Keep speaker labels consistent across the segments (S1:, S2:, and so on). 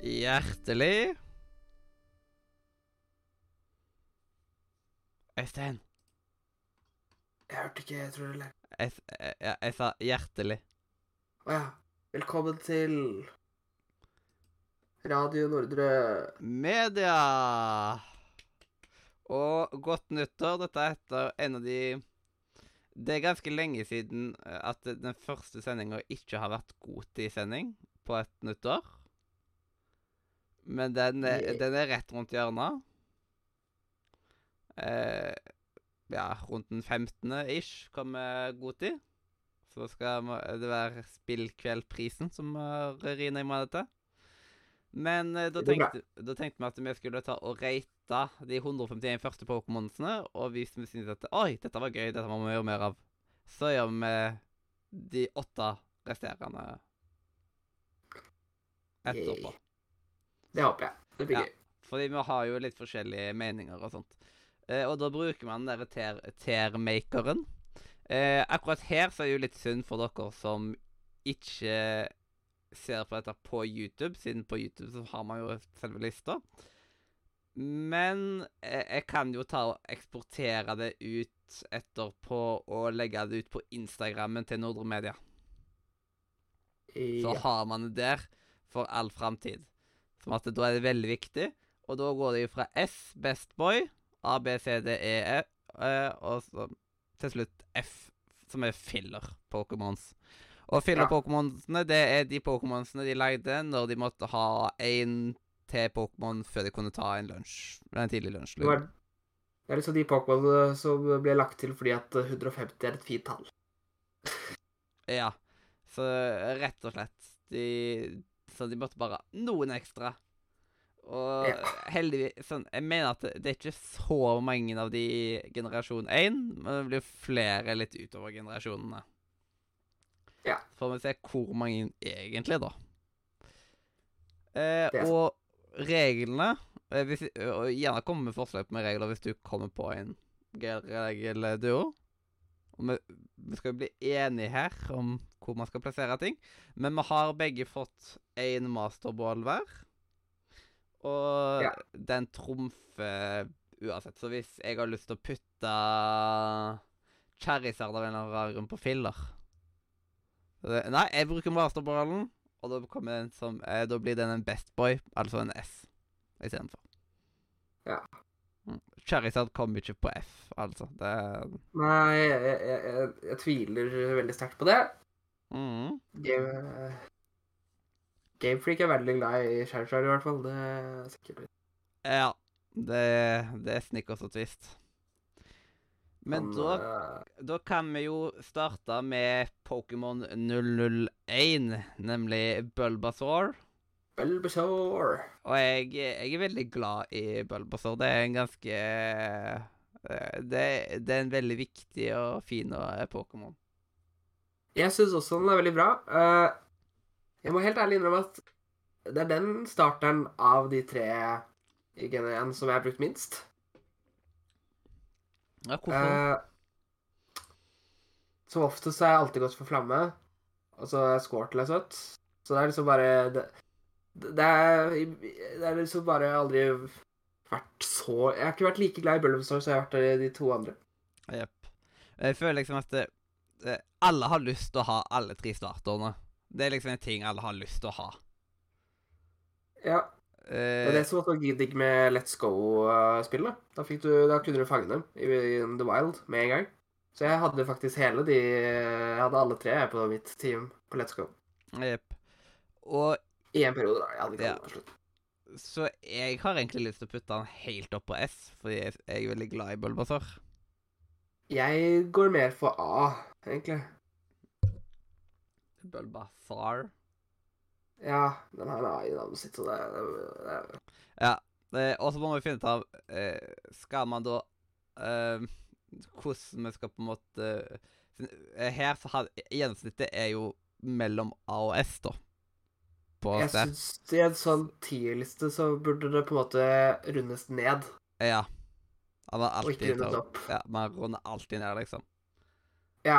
S1: Hjertelig Øystein.
S2: Jeg hørte ikke, jeg tror det lærte.
S1: Jeg, s- jeg, jeg, jeg sa hjertelig.
S2: Å ja. Velkommen til Radio Nordre
S1: Media! Og godt nyttår. Dette er etter en av de Det er ganske lenge siden eh, at den første sendinga ikke har vært god til sending på et nyttår. Men den er,
S2: Yeah.
S1: den er rett rundt hjørnet. Eh, ja, rundt den 15. ish kommer god tid. Så skal vi- det være Spillkveldprisen som eh, rir ned med dette. Men eh, da
S2: Det blir bra.
S1: tenkte, da tenkte vi at vi skulle ta og rate de 151 første Pokémonsene. Og hvis vi syntes at Oi, dette var gøy, dette må vi gjøre mer av, så gjør vi de åtte resterende etterpå.
S2: Yay. Det håper jeg. Det blir
S1: Ja.
S2: gøy.
S1: Fordi vi har jo litt forskjellige meninger og sånt. Eh, og da bruker man den derre tearmakeren. Eh, akkurat her så er det jo litt synd for dere som ikke ser på dette på YouTube, siden på YouTube så har man jo selve lista. Men eh, jeg kan jo ta og eksportere det ut etterpå og legge det ut på Instagrammen til Nordre Media. Så
S2: Ja.
S1: har man det der for all framtid. Som at da er det veldig viktig. Og da går det jo fra S, best boy, A, B, C, D, E, F, eh, og så til slutt F, som er filler Pokémons. Og
S2: Ja.
S1: filler-Pokémonsene, det er de Pokémonsene de lagde når de måtte ha én til Pokémon før de kunne ta en lunsj. En tidlig lunsj.
S2: Det, var, det er liksom de Pokémonene som ble lagt til fordi at 150 er et fint tall.
S1: Ja. Så rett og slett de, Så de måtte bare ha noen ekstra. Og
S2: Ja.
S1: heldigvis sånn, Jeg mener at det, det er ikke så mange av de i generasjon 1, men det blir flere litt utover generasjonene.
S2: Ja.
S1: Så får vi se hvor mange egentlig, da. Eh,
S2: Det er sant.
S1: og reglene eh, hvis, og Gjerne kom med forslag med regler hvis du kommer på en gøy regel, eh, du òg. Og vi, vi skal jo bli enige her om hvor man skal plassere ting. Men vi har begge fått én masterball hver. Og
S2: Ja.
S1: den trumfer uansett. Så hvis jeg har lyst til å putte Charizard av en eller annen grunn på filler det, Nei, jeg bruker masterballen, og da, kommer den som, eh, da blir den en best boy, altså en S, istedenfor.
S2: Ja.
S1: Mm. Charizard kom ikke på F, altså. Det
S2: Nei, jeg, jeg, jeg, jeg tviler veldig sterkt på det.
S1: mm.
S2: Game, Gamefreak er veldig glad i Charizard, i hvert fall. Det er sikkert.
S1: Ja. Det, det er snickers og twist. Men
S2: Han,
S1: da
S2: eh,
S1: da kan vi jo starte med Pokémon 001, nemlig Bulbasaur.
S2: Bulbasaur.
S1: Og jeg, jeg er veldig glad i Bulbasaur. Det er en ganske eh, Det, det er en veldig viktig og fin eh, Pokémon.
S2: Jeg syns også den er veldig bra. Eh, jeg må helt ærlig innrømme at det er den starteren av de tre i gen 1 som jeg har brukt minst.
S1: Ja, hvorfor?
S2: Eh, som oftest har jeg alltid gått for flamme, og så er Squirtle er søtt. Så det er liksom bare det, det, er, det er liksom bare aldri vært så Jeg har ikke vært like glad i Bulbasaur som jeg har vært i de to andre.
S1: Jepp. Eh, Jeg føler liksom at det, eh, alle har lyst til å ha alle tre starterne. Det er liksom en ting alle har lyst til å ha.
S2: Ja, Det er
S1: Eh,
S2: det som var så digg med Let's Go-spillet. Da, fikk du- da kunne du fange dem i in the wild med en gang. Så jeg hadde faktisk hele de Jeg hadde alle tre jeg, på mitt team på Let's Go.
S1: Jepp. Eh, Og
S2: I en periode, da. Jeg hadde ikke
S1: Ja.
S2: alle til slutt.
S1: Så jeg har egentlig lyst til å putte den helt opp på S, fordi jeg jeg er veldig glad i Bulbasaur.
S2: Jeg går mer for A, egentlig.
S1: Bulbasaur.
S2: Ja, den har en A i navnet sitt, så det, det, det
S1: Eh, og så må vi finne ut av eh, Skal man da eh, Hvordan vi skal på en måte eh, Her så har gjennomsnittet er jo mellom A og S, da. På
S2: Jeg
S1: C.
S2: syns i en sånn tierliste så burde det på en måte rundes ned,
S1: Ja. Han var
S2: og
S1: alltid
S2: ikke rundes
S1: tar-
S2: opp.
S1: Ja, Man runder alltid ned, liksom.
S2: Ja,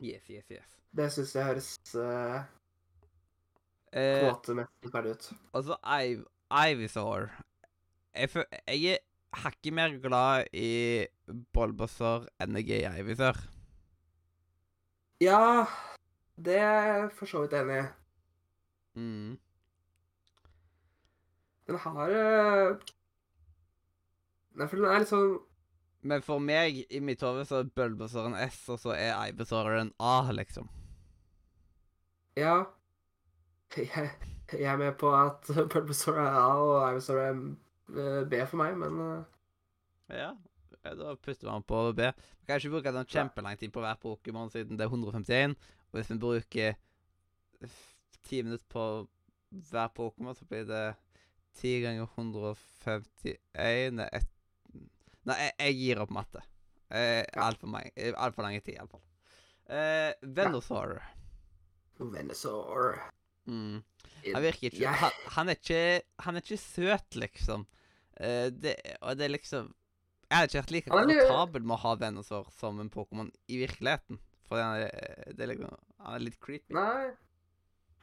S1: Yes, yes, yes.
S2: det syns jeg høres eh,
S1: Eh,
S2: Kvotemessig ferdig ut.
S1: altså, Iv Ivysaur jeg, fø- jeg er hakket mer glad i Bulbasaur enn jeg er i Ivysaur.
S2: Ja, det er jeg for så vidt enig i.
S1: Mm.
S2: Den har eh, Nei, for den er litt sånn
S1: Men for meg, i mitt hode, så er Bulbasaur en S, og så er Ivysaur en A, liksom.
S2: Ja. Jeg, jeg er med på at Bulbasaur er A og Ivysaur er eh, B for meg, men eh,
S1: Ja, ja, da putter man på B. Man kan ikke bruke den kjempelang tid på hver Pokémon siden det er 151. Og hvis vi bruker f- 10 minutter på hver Pokémon, så blir det 10 ganger 151 Nei, ett- Nei, jeg, jeg gir opp matte. Eh,
S2: Ja.
S1: Altfor mange- eh, alt for lang tid, iallfall. Eh, Venusaur.
S2: Venusaur
S1: Mm.
S2: Eh,
S1: Han virker ikke
S2: Jeg-
S1: han, han, er ikke han er ikke søt, liksom. Eh, det, og det er liksom Jeg hadde ikke vært like
S2: Han er litt-
S1: komfortabel med å ha Venusaur som en Pokémon i virkeligheten. For han er, det er liksom Han er litt creepy.
S2: Nei.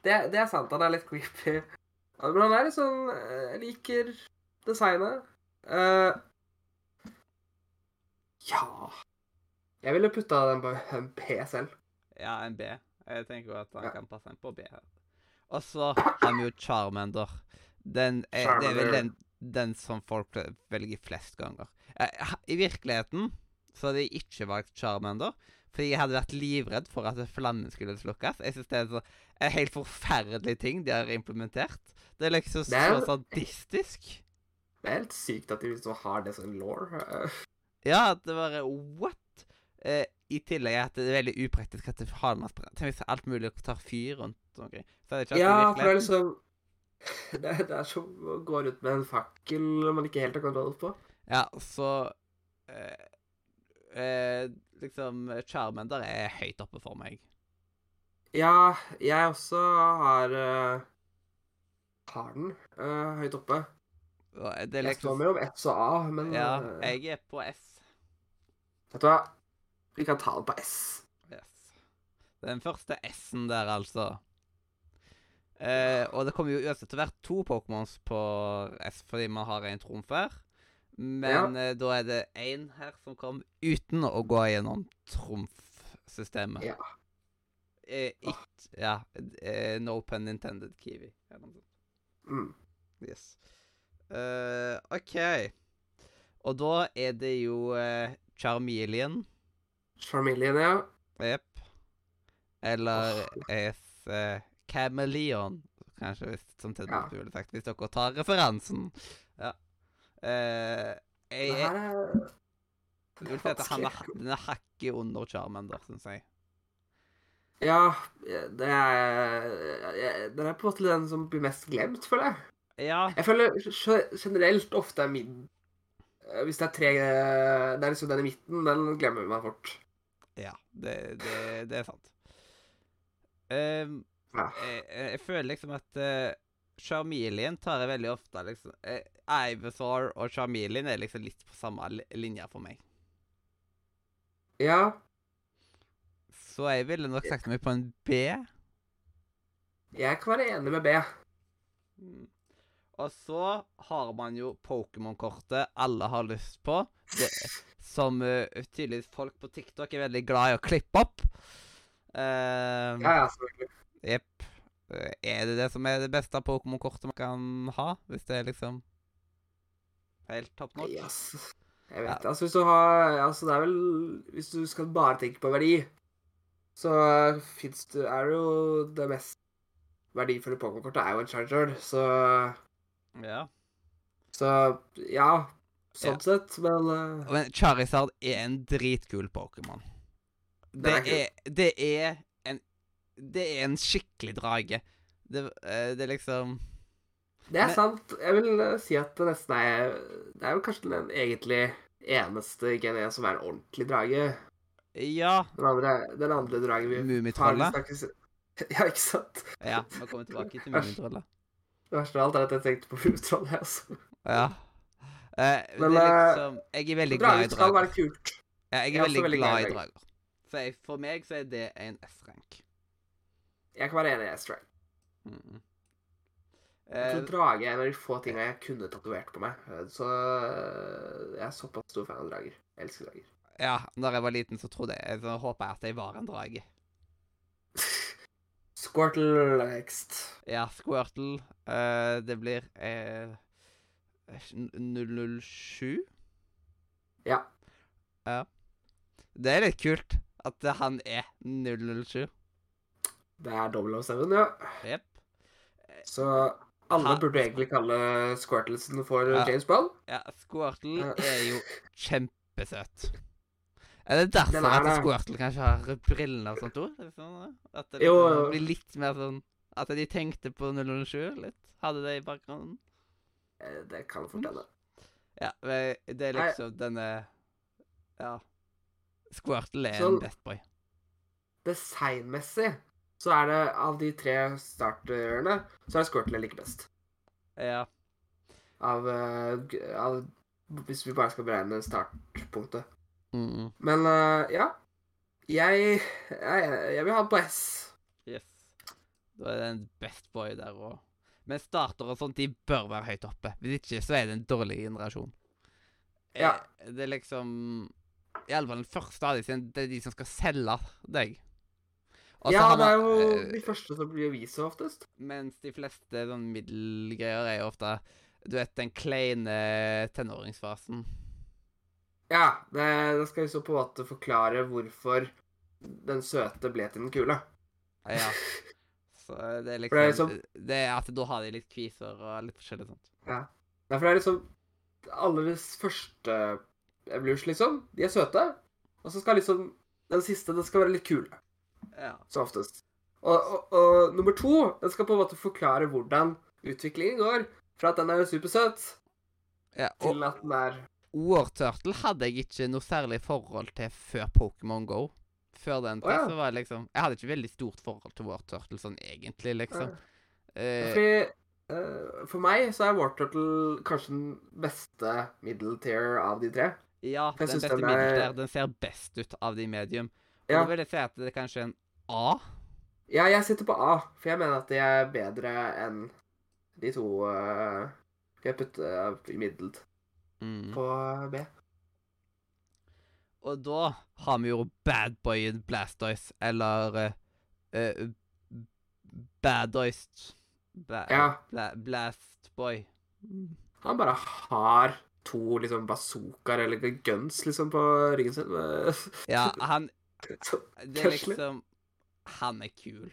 S2: Det, det er sant, han er litt creepy. Ja, Men han er litt sånn eh, Jeg liker designet. Eh, ja Jeg ville putta den på en P selv.
S1: Ja, en B. Jeg tenker jo at han
S2: Ja.
S1: kan passe inn på B her. Og så har vi jo Charmander. Den er, det er vel
S2: Charmander.
S1: den, den som folk vel- velger flest ganger. Eh, ha- I virkeligheten så hadde jeg ikke valgt Charmander, fordi jeg hadde vært livredd for at flammen skulle slukkes. Jeg synes det er så, en helt forferdelig ting de har implementert. Det er liksom
S2: Det
S1: så
S2: er jo-
S1: sadistisk.
S2: Det er helt sykt at de liksom har det som Eh, law.
S1: Ja, at det bare What? Eh, I tillegg at det er veldig upraktisk at det har masse brenn. Tenk hvis alt mulig tar fyr rundt omkring. Så er det ikke
S2: Ja,
S1: alltid
S2: for det
S1: virkelig.
S2: er liksom det, er- det er som å gå rundt med en fakkel man ikke helt har kontroll på.
S1: Ja, så eh, eh, Liksom Charmander er høyt oppe for meg.
S2: Ja, jeg også har eh, Har den eh, høyt oppe.
S1: Og Det er
S2: Jeg står
S1: liksom
S2: mellom S og A, men
S1: Ja,
S2: eh,
S1: jeg er på S.
S2: Vet du hva? Vi kan ta den på S.
S1: Yes. Den første S-en der, altså. Eh, og det kommer jo uansett til å være to Pokémons på S fordi man har en trumf hver. Men eh, da er det én her som kom uten å gå gjennom trumfsystemet.
S2: Ja.
S1: Eh, ikk- ja. Eh, no pun intended, Kiwi. eller noe sånt.
S2: Mm.
S1: Yes. Eh, OK. Og da er det jo eh, Charmeleon.
S2: Charmeleon, ja.
S1: Jepp. Eller es eh, Cameleon, kanskje, hvis, som Ted
S2: Ja.
S1: Mosby ville sagt, hvis dere tar referansen. Ja. Eh,
S2: Det
S1: jeg,
S2: her er
S1: jeg vil si at han er, ha- den er hakket under Charmander, syns jeg.
S2: Ja, det er jeg- Den er på en måte den som blir mest glemt, føler jeg.
S1: Ja,
S2: Jeg føler ge- generelt ofte er min eh, Hvis det er tre Det er liksom den i midten, den glemmer man fort.
S1: ja det, det, det er sant. Ehm,
S2: Ja.
S1: jeg, jeg jeg føler liksom at eh, Charmeleon tar jeg veldig ofte, liksom. Eh, Ivysaur og Charmeleon er liksom litt på samme li- linje for meg.
S2: Ja,
S1: Så jeg ville nok sagt meg på en B.
S2: jeg kan være enig med B.
S1: Mm. Og så har man jo Pokémon-kortet alle har lyst på. Det, som eh, tydeligvis folk på TikTok er veldig glad i å klippe opp. Ehm,
S2: Ja, ja, selvfølgelig.
S1: Jepp. Eh, Er det det som er det beste Pokémon-kortet man kan ha? Hvis det er liksom helt topp nok?
S2: Yes. Jeg vet det. Altså, hvis du har Altså, det er vel Hvis du skal bare tenke på verdi, så fins det Er det jo det mest verdifulle Pokémon-kortet er jo en charger, så
S1: Ja.
S2: Så ja. Sånn sett, men eh,
S1: Men Charizard er en dritkul Pokémon. Det
S2: Den er kul.
S1: er, det er en Det er en skikkelig drage. Det, eh, det er liksom
S2: Det er
S1: Men-
S2: sant. Jeg vil eh, si at det nesten er Det er jo kanskje den egentlig eneste i GNE som er en ordentlig drage.
S1: Ja.
S2: Den andre, den andre dragen vi
S1: Mummitrollet.
S2: har- vi snakkes- Ja, ikke sant?
S1: Ja, vi kommer tilbake til Mummitrollet.
S2: Det verste av alt er at jeg tenkte på Mummitrollet, jeg også.
S1: Ja. Eh,
S2: Men,
S1: det er
S2: eh,
S1: liksom Jeg er veldig glad i
S2: Drager skal
S1: drager.
S2: være kult.
S1: Ja, jeg
S2: jeg
S1: er
S2: er
S1: veldig
S2: også veldig glad i
S1: glad i drager. Så jeg, for meg så er det en S-rank.
S2: Jeg kan være enig i S-Rank.
S1: Mm.
S2: Jeg
S1: Eh,
S2: tror drage er en av de få tingene jeg kunne tatovert på meg. Eh, Så eh, jeg er såpass stor fan av drager. Jeg elsker drager.
S1: ja, når jeg var liten, så trodde jeg, så håpa jeg at jeg var en drage.
S2: Squirtle next.
S1: Ja, Squirtle. eh, det blir eh, n- 007.
S2: Ja.
S1: Ja. Det er litt kult at eh, han er 007.
S2: Det er double of seven, ja.
S1: Jepp.
S2: Så alle
S1: Ha-
S2: burde egentlig kalle Squirtlesen for
S1: Ja.
S2: James Bond.
S1: Ja, Squirtle
S2: Ja.
S1: er jo kjempesøt. Er det derfor
S2: Den er
S1: at
S2: det.
S1: Squirtle kanskje har brillene og sånt òg? Sånn, eh, at det
S2: Jo,
S1: liksom
S2: jo.
S1: blir litt mer sånn At de tenkte på 007 litt? Hadde det i bakgrunnen?
S2: Eh, Det kan fort hende.
S1: Ja, men det er
S2: Nei.
S1: liksom denne Ja. Squirtle er
S2: Sånn.
S1: en bedboy.
S2: Designmessig så er det av de tre starterne, så er Squirtle jeg liker best.
S1: Ja.
S2: Av, eh, g- av Hvis vi bare skal beregne startpunktet.
S1: Mm.
S2: Men eh, ja. Jeg, jeg, jeg vil ha på S.
S1: Yes. Da er det en best boy der òg. Men starter og sånt, de bør være høyt oppe. Hvis ikke, så er det en dårlig generasjon. Eh,
S2: Ja.
S1: Det er liksom I alle fall den første av de siden det er de som skal selge deg. Og så
S2: ja,
S1: har
S2: det er
S1: man,
S2: jo
S1: eh,
S2: de første som blir vist som oftest.
S1: Mens de fleste sånn middelgreier er jo ofte Du vet, den kleine tenåringsfasen.
S2: Ja, det, da skal vi så på en måte forklare hvorfor den søte ble til den kule.
S1: Ah, Ja. Så det er
S2: For det er
S1: liksom Det er at da har de litt kviser og litt forskjellig sånt.
S2: Derfor er det liksom Alle de første blues, liksom, de er søte. Og så skal liksom Den siste, den skal være litt kul,
S1: Ja.
S2: som oftest. Og, og, og nummer to, den skal på en måte forklare hvordan utviklingen går. Fra at den er supersøt,
S1: ja. Og
S2: til at den er
S1: War Turtle hadde jeg ikke noe særlig forhold til før Pokémon Go. Før den
S2: Å, ja.
S1: tid så var det liksom Jeg hadde ikke veldig stort forhold til War Turtle sånn egentlig, liksom. Eh,
S2: Fordi eh, For meg så er War Turtle kanskje den beste middle tier av de tre.
S1: ja,
S2: jeg
S1: den
S2: synes
S1: beste
S2: den er-
S1: middel der, den ser best ut av de medium. Og
S2: Ja.
S1: Da vil jeg si at det er kanskje en A.
S2: Ja, jeg sitter på A, for jeg mener at de er bedre enn de to eh, jeg putter eh, i middel
S1: Mm.
S2: på eh, B.
S1: Og da har vi jo Badboyen Blastoise, eller uh, uh, Badoist ba
S2: Ja.
S1: bla Blastboy.
S2: Han bare har to liksom bazookaer eller guns liksom på ryggen sin. eh,
S1: Ja, han
S2: Så,
S1: Det er
S2: Tesla.
S1: liksom Han er kul.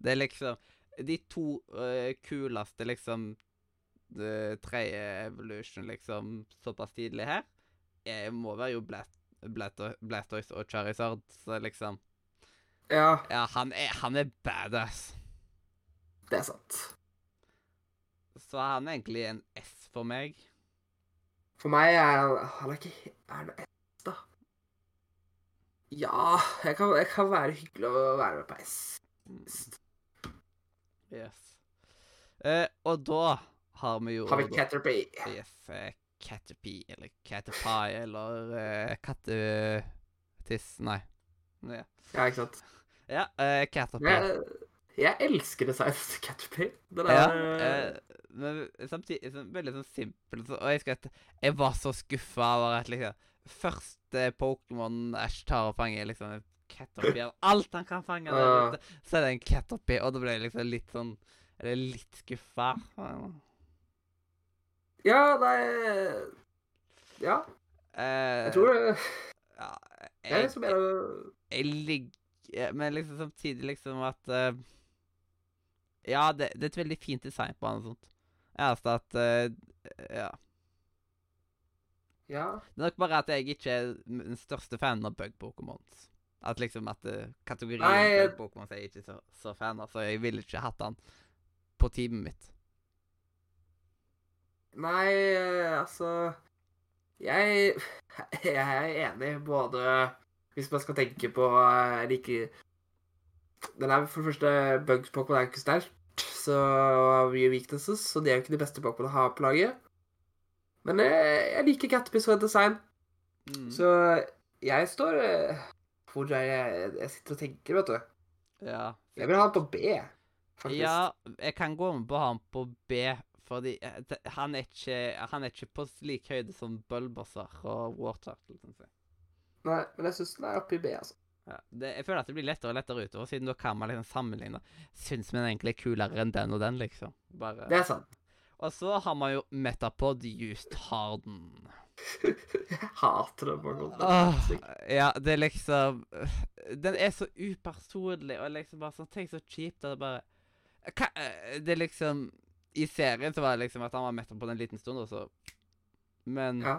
S1: Det er liksom De to eh, kuleste, liksom eh, Tredje evolution, liksom, såpass tidlig her, eh, må være jo Blat Blato- Blastoise og Charizard, så liksom
S2: ja,
S1: Ja, han er, han er badass.
S2: det er sant.
S1: Så han er egentlig en S for meg.
S2: For meg er han- han er ikke he- Er han S, da? Ja, jeg kan, jeg kan være hyggelig å være med på S.
S1: Yes. Eh, og da har vi jo
S2: Har vi Caterpie?
S1: Yes, eh, Caterpie, eller Caterpie, eller eh, kattetiss Nei. Ja,
S2: Ja, ikke sant.
S1: ja eh, Caterpie.
S2: Jeg, jeg elsker designet til Caterpie. Den er
S1: Ja, eh, men samtidig sånn, veldig sånn simpel. Så, og jeg husker at jeg var så skuffa over at liksom Første Pokémon Ash tar og fanger, liksom en Caterpie av alt han kan fange.
S2: Ja.
S1: Der, ute, så er det en Caterpie, og da ble jeg liksom litt sånn Eller litt skuffa.
S2: Ja, nei Ja,
S1: Eh,
S2: jeg tror det.
S1: ja,
S2: Jeg
S1: eh,
S2: er liksom mer
S1: jeg ligger Men liksom samtidig liksom at eh, Ja, det, det er et veldig fint design på han og sånt. Eneste at eh, Ja.
S2: Ja.
S1: Det er nok bare at jeg ikke er den største fanen av bug-pokémons. At liksom at eh, kategorien
S2: Nei,
S1: bug-pokémons er jeg ikke så, så fan av, så jeg ville ikke hatt han på teamet mitt.
S2: Nei, eh, altså Jeg, jeg er enig både Hvis man skal tenke på eh, Er det ikke Den er for det første Bugs Pokémon er ikke sterkt, så har mye weaknesses, så de er jo ikke de beste Pokémon å ha på laget. Men jeg, jeg liker Caterpie som et design,
S1: Mm.
S2: så jeg står eh, Hvor er jeg Jeg sitter og tenker, vet du.
S1: ja.
S2: Jeg vil ha den på B. faktisk.
S1: Ja, jeg kan gå med på han på B, fordi eh, det- han er ikke, han er ikke på lik høyde som Bulbasaur og sånn Warturtle. synes jeg.
S2: Nei, men jeg syns den er oppe i B, altså.
S1: Ja, det, jeg føler at det blir lettere og lettere utover, siden da kan man liksom sammenligne. Syns man egentlig er kulere enn den og den, liksom? Bare.
S2: Det er sant.
S1: Og så har man jo Metapod Just Harden.
S2: Jeg hater den Morgold.
S1: Åh, ja, det er liksom Den er så upersonlig, og liksom bare sånn Tenk så kjipt at det bare Hva, Det er liksom I serien så var det liksom at han var Metapod en liten stund, og så Men øh,
S2: Ja.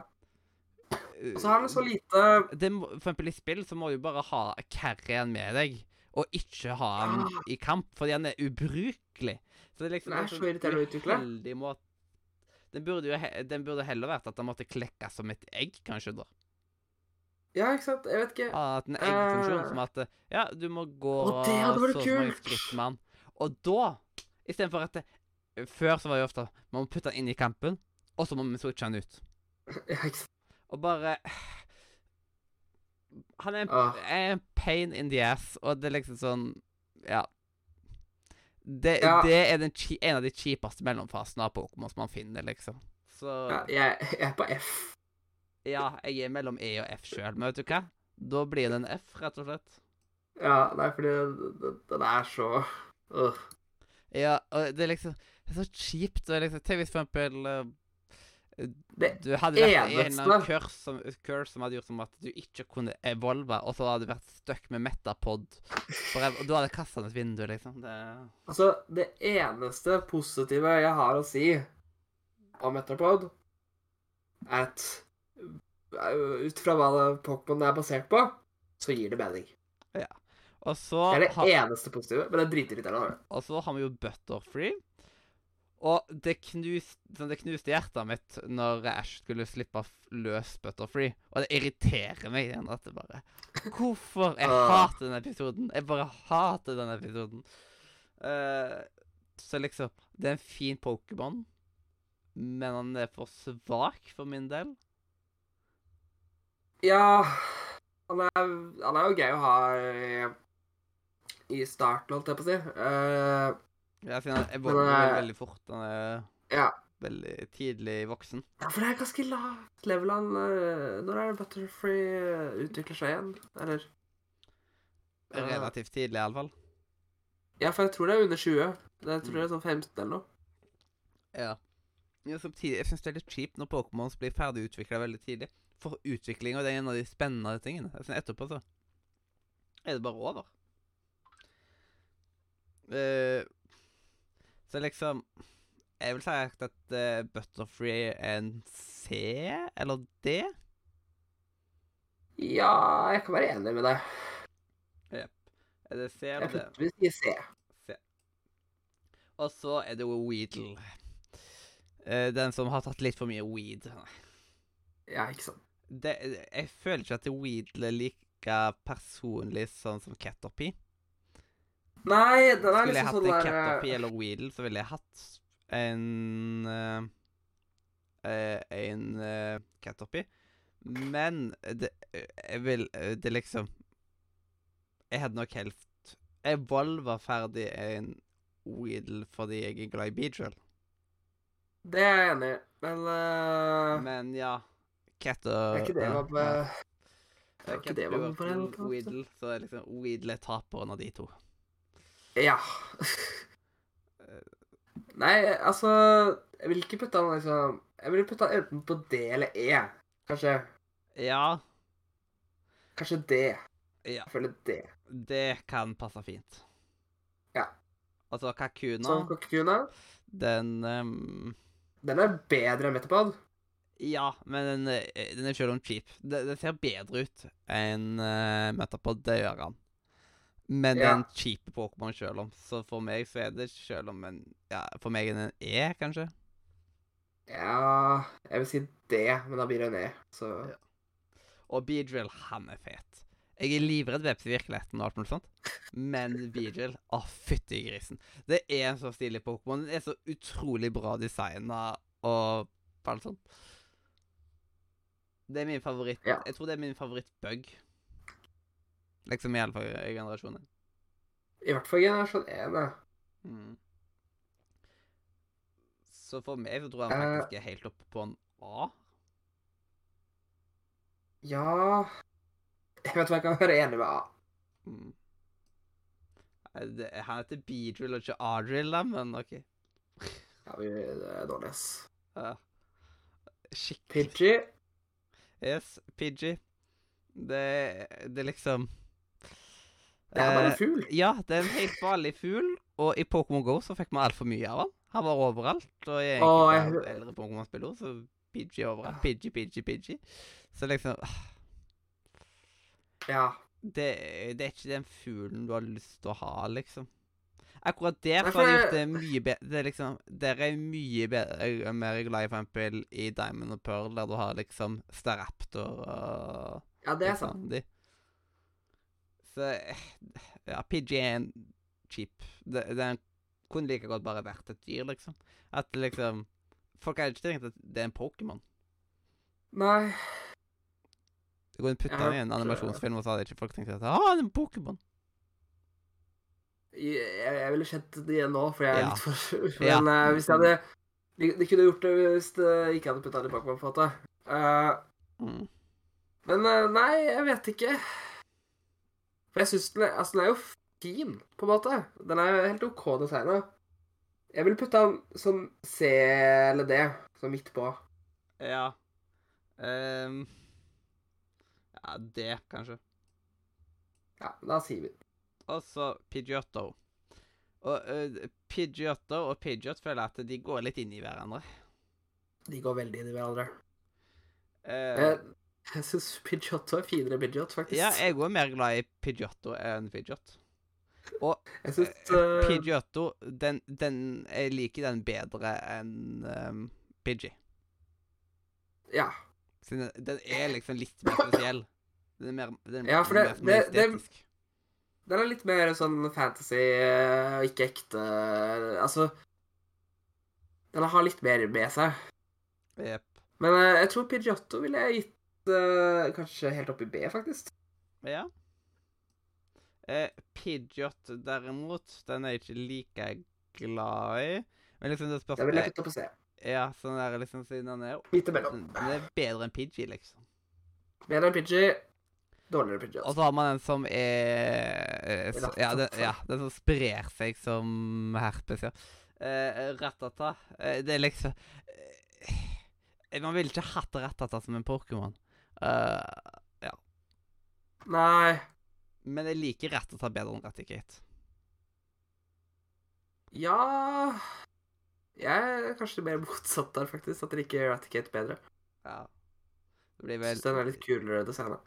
S2: Og så har den så lite
S1: det må, for eksempel i spill så må du bare ha carryen med deg, og ikke ha han
S2: Ja.
S1: i kamp, fordi han er ubrukelig. Så det er liksom
S2: Den er
S1: en
S2: så
S1: sånn
S2: irriterende å utvikle.
S1: uheldig måte- Den burde, jo, he- den burde heller vært at han måtte klekkes som et egg, kanskje, da.
S2: Ja, ikke sant? Jeg vet ikke.
S1: Ha hatt en eggfunksjon
S2: Eh.
S1: som at eh, Ja, du må gå
S2: Å, det hadde vært
S1: så og så mange
S2: kult!
S1: skritt med han. Og da, istedenfor at det, Før så var det jo ofte man må putte han inn i kampen, og så må vi switche han ut.
S2: Ja, ikke sant?
S1: Og bare Han er en,
S2: Ah.
S1: er en pain in the ass, og det er liksom sånn Ja. Det,
S2: Ja.
S1: det er den, kji- en av de kjipeste mellomfasene av Pokémon som man finner, liksom. Så
S2: Ja, jeg, jeg er på F.
S1: ja, jeg er mellom E og F sjøl, men vet du hva? Da blir det en F, rett og slett.
S2: Ja, nei, fordi den- den- den er så øh.
S1: Ja, og det er liksom Det er så kjipt. Og liksom, tenk hvis for eksempel eh,
S2: Det
S1: du hadde vært i en
S2: eneste-
S1: eller annen curse som, curse som hadde gjort som at du ikke kunne evolve, og så hadde du vært stuck med metapod. For ev- og du hadde kastet den ut vinduet, liksom. Det,
S2: Altså, det eneste positive jeg har å si om Metapod, er at øh, ut fra hva det- Pokémon er basert på, så gir det mening.
S1: og, så
S2: Det er det
S1: har-
S2: eneste positive, men det er dritirriterende å høre.
S1: og så har vi jo Butterfree. Og det, knus, sånn, det knuste hjertet mitt når Ash skulle slippe f- løs Butterfree. Og det irriterer meg igjen at det bare Hvorfor? Jeg
S2: Ah.
S1: hater denne episoden. Jeg bare hater denne episoden. Eh, så liksom Det er en fin Pokémon, men han er for svak for min del.
S2: Ja han er, han er jo gøy å ha i, i starten, holdt jeg på å si. Eh,
S1: Jeg sier han
S2: Men,
S1: evolver veldig,
S2: eh,
S1: veldig fort. Han er
S2: ja.
S1: veldig tidlig voksen.
S2: ja, for det er ganske lavt level han eh, Når er det Butterfree eh, utvikler seg igjen? Eller? Eh,
S1: Relativt tidlig, iallfall.
S2: Ja, for jeg tror det er under 20. Jeg tror det er sånn 15 eller noe.
S1: Ja. Men samtidig, jeg syns det er litt kjipt når Pokémons blir ferdig utvikla veldig tidlig. For utviklinga er en av de spennende tingene. Jeg synes etterpå så er det bare over. Eh, så liksom Jeg vil si at eh, Butterfree er en C eller D.
S2: Ja, jeg kan være enig med deg.
S1: Er det C
S2: Jeg
S1: eller D?
S2: putter vi i C.
S1: Og så er det jo Weedle. Eh, den som har tatt litt for mye weed. Nei.
S2: Ja, ikke sant.
S1: det, jeg føler ikke at Weedle er like personlig sånn som Caterpie.
S2: Nei, den er
S1: Skulle jeg
S2: liksom
S1: hatt
S2: sånn
S1: en
S2: der
S1: Caterpie eller Weedle, så ville jeg hatt en eh, eh, En eh, Caterpie. Men det, jeg vil eh, Det liksom Jeg hadde nok helst Evolva ferdig en Weedle fordi jeg er glad i Beedrill.
S2: Det er jeg enig i, men eh,
S1: Men ja Cat
S2: Det
S1: og
S2: er ikke det
S1: ja,
S2: man
S1: ja.
S2: med
S1: Det er
S2: ikke det man altså?
S1: Catbird
S2: på den
S1: og
S2: måten.
S1: Weedle, så er liksom Weedle er taperen av de to.
S2: eh, Ja. Nei, altså Jeg vil ikke putte han liksom Jeg ville putte han enten på D eller E. Kanskje
S1: Ja,
S2: Kanskje D.
S1: Ja.
S2: Jeg føler D.
S1: det kan passe fint.
S2: Ja.
S1: Altså, Kakuna,
S2: Som kokkekuna.
S1: den ehm,
S2: Sånn, Den er bedre enn Metapod.
S1: Ja, men den, eh, den er selv om cheap. Det, det ser bedre ut enn uh, Metapod, det gjør han. Men
S2: Ja.
S1: den cheape Pokémon selv om, så for meg så er det selv om en Ja, for meg er den en E, kanskje?
S2: Ja Jeg vil si D, men da blir det en E. Så
S1: Ja. Og Beedrill, han er fet. Jeg er livredd veps i virkeligheten og alt mulig sånt, men Beedrill Å, fytti grisen. Det er en så stilig Pokémon. Den er så utrolig bra designa og alt sånt. Det er min favoritt
S2: Ja.
S1: Jeg tror det er min favoritt-bug. Liksom i alle fall i generasjonen.
S2: i hvert fall generasjon 1, ja.
S1: Mm. Så for meg så tror jeg han faktisk er helt oppe på en A.
S2: Ja Jeg vet hva jeg kan være enig med A.
S1: Mm. Nei, det- Han heter B-drill og ikke A-drill, da, men OK.
S2: Ja, vi, det er dårlig, ass.
S1: Ja. Skikkelig
S2: Pidgey
S1: Yes, Pidgey. Det, det er liksom
S2: Det er bare
S1: Eh,
S2: en fugl.
S1: Ja, det er en helt vanlig fugl, og i Pokémon GO så fikk vi altfor mye av han. Han var overalt, og i
S2: Å, jeg
S1: enkelte
S2: hø-
S1: eldre Pokémon-spillere så Pidgey overalt. Pidgey, Pidgey, Pidgey. Så liksom
S2: Ja.
S1: Det, det er ikke den fuglen du har lyst til å ha, liksom. Akkurat der
S2: Nei,
S1: så har de
S2: for-
S1: gjort det mye bedre. Det er liksom, der er jeg mye bedre, jeg er mer glad i for eksempel i Diamond og Pearl, der du har liksom Staraptor og
S2: ja, det er
S1: liksom,
S2: sant.
S1: de. Så eh, Ja, Pidgey er en chip. Det- Den kunne like godt bare vært et dyr, liksom. At liksom Folk hadde ikke tenkt at det er en Pokémon.
S2: Nei.
S1: Du kunne putte
S2: Jeg
S1: den i en
S2: hørte-
S1: animasjonsfilm, og så hadde ikke folk tenkt at ah, det er en Pokémon.
S2: Jeg, jeg ville kjent det igjen nå, for jeg er
S1: Ja.
S2: litt for
S1: Ja.
S2: Men eh, hvis jeg hadde de, de kunne gjort det hvis det ikke hadde putta det i Pokémon, på en måte. Eh,
S1: Mm.
S2: men eh, nei, jeg vet ikke. For jeg syns den, er- altså, den er jo fin, på en måte. Den er helt OK designa. Jeg ville putta den som C eller D, sånn midt på.
S1: Ja. Ehm, ja, det, kanskje.
S2: Ja, da sier vi
S1: Og så Pidgeotto. Og eh, Pidgeotto og Pidgeot føler jeg at de går litt inn i hverandre.
S2: De går veldig inn i hverandre.
S1: Eh,
S2: Jeg, jeg syns Pidgeotto er finere enn Pidgeot, faktisk.
S1: ja, jeg er også mer glad i Pidgeotto enn Pidgeot.
S2: Jeg synes,
S1: Eh,
S2: eh,
S1: Pidgeotto, den, den, jeg liker den bedre enn ehm, Pidgey.
S2: ja.
S1: Siden den, den er liksom litt mer spesiell. Den er mer, den,
S2: Ja, for det-
S1: den er mer sånn
S2: det- det-
S1: estetisk.
S2: Den er litt mer sånn fantasy eh, og ikke ekte eh, Altså Den har litt mer med seg.
S1: Jep.
S2: Men eh, jeg tror Pidgeotto ville jeg gitt eh, kanskje helt opp i B, faktisk.
S1: Ja. Eh, Pidgeot, derimot, den er jeg ikke like glad i. Men liksom det
S2: Den ville jeg
S1: spørsmålet
S2: putta på C.
S1: Ja, sånn der liksom siden den er
S2: Midt imellom.
S1: Den den er bedre enn Pidgey, liksom.
S2: Bedre enn Pidgey, dårligere enn Pidgeot.
S1: Og så har man den som er eh, så, ja, den, ja, den som sprer seg som herpes, ja. Eh, Ratata. Eh, det er liksom eh, Man ville ikke hatt Ratata som en Pokémon. Eh,
S2: Nei
S1: men jeg liker Ratata bedre enn Raticate.
S2: Ja Jeg er kanskje mer motsatt der, faktisk. At jeg liker Raticate bedre.
S1: Ja. Det blir vel
S2: Syns den er litt kulere designa.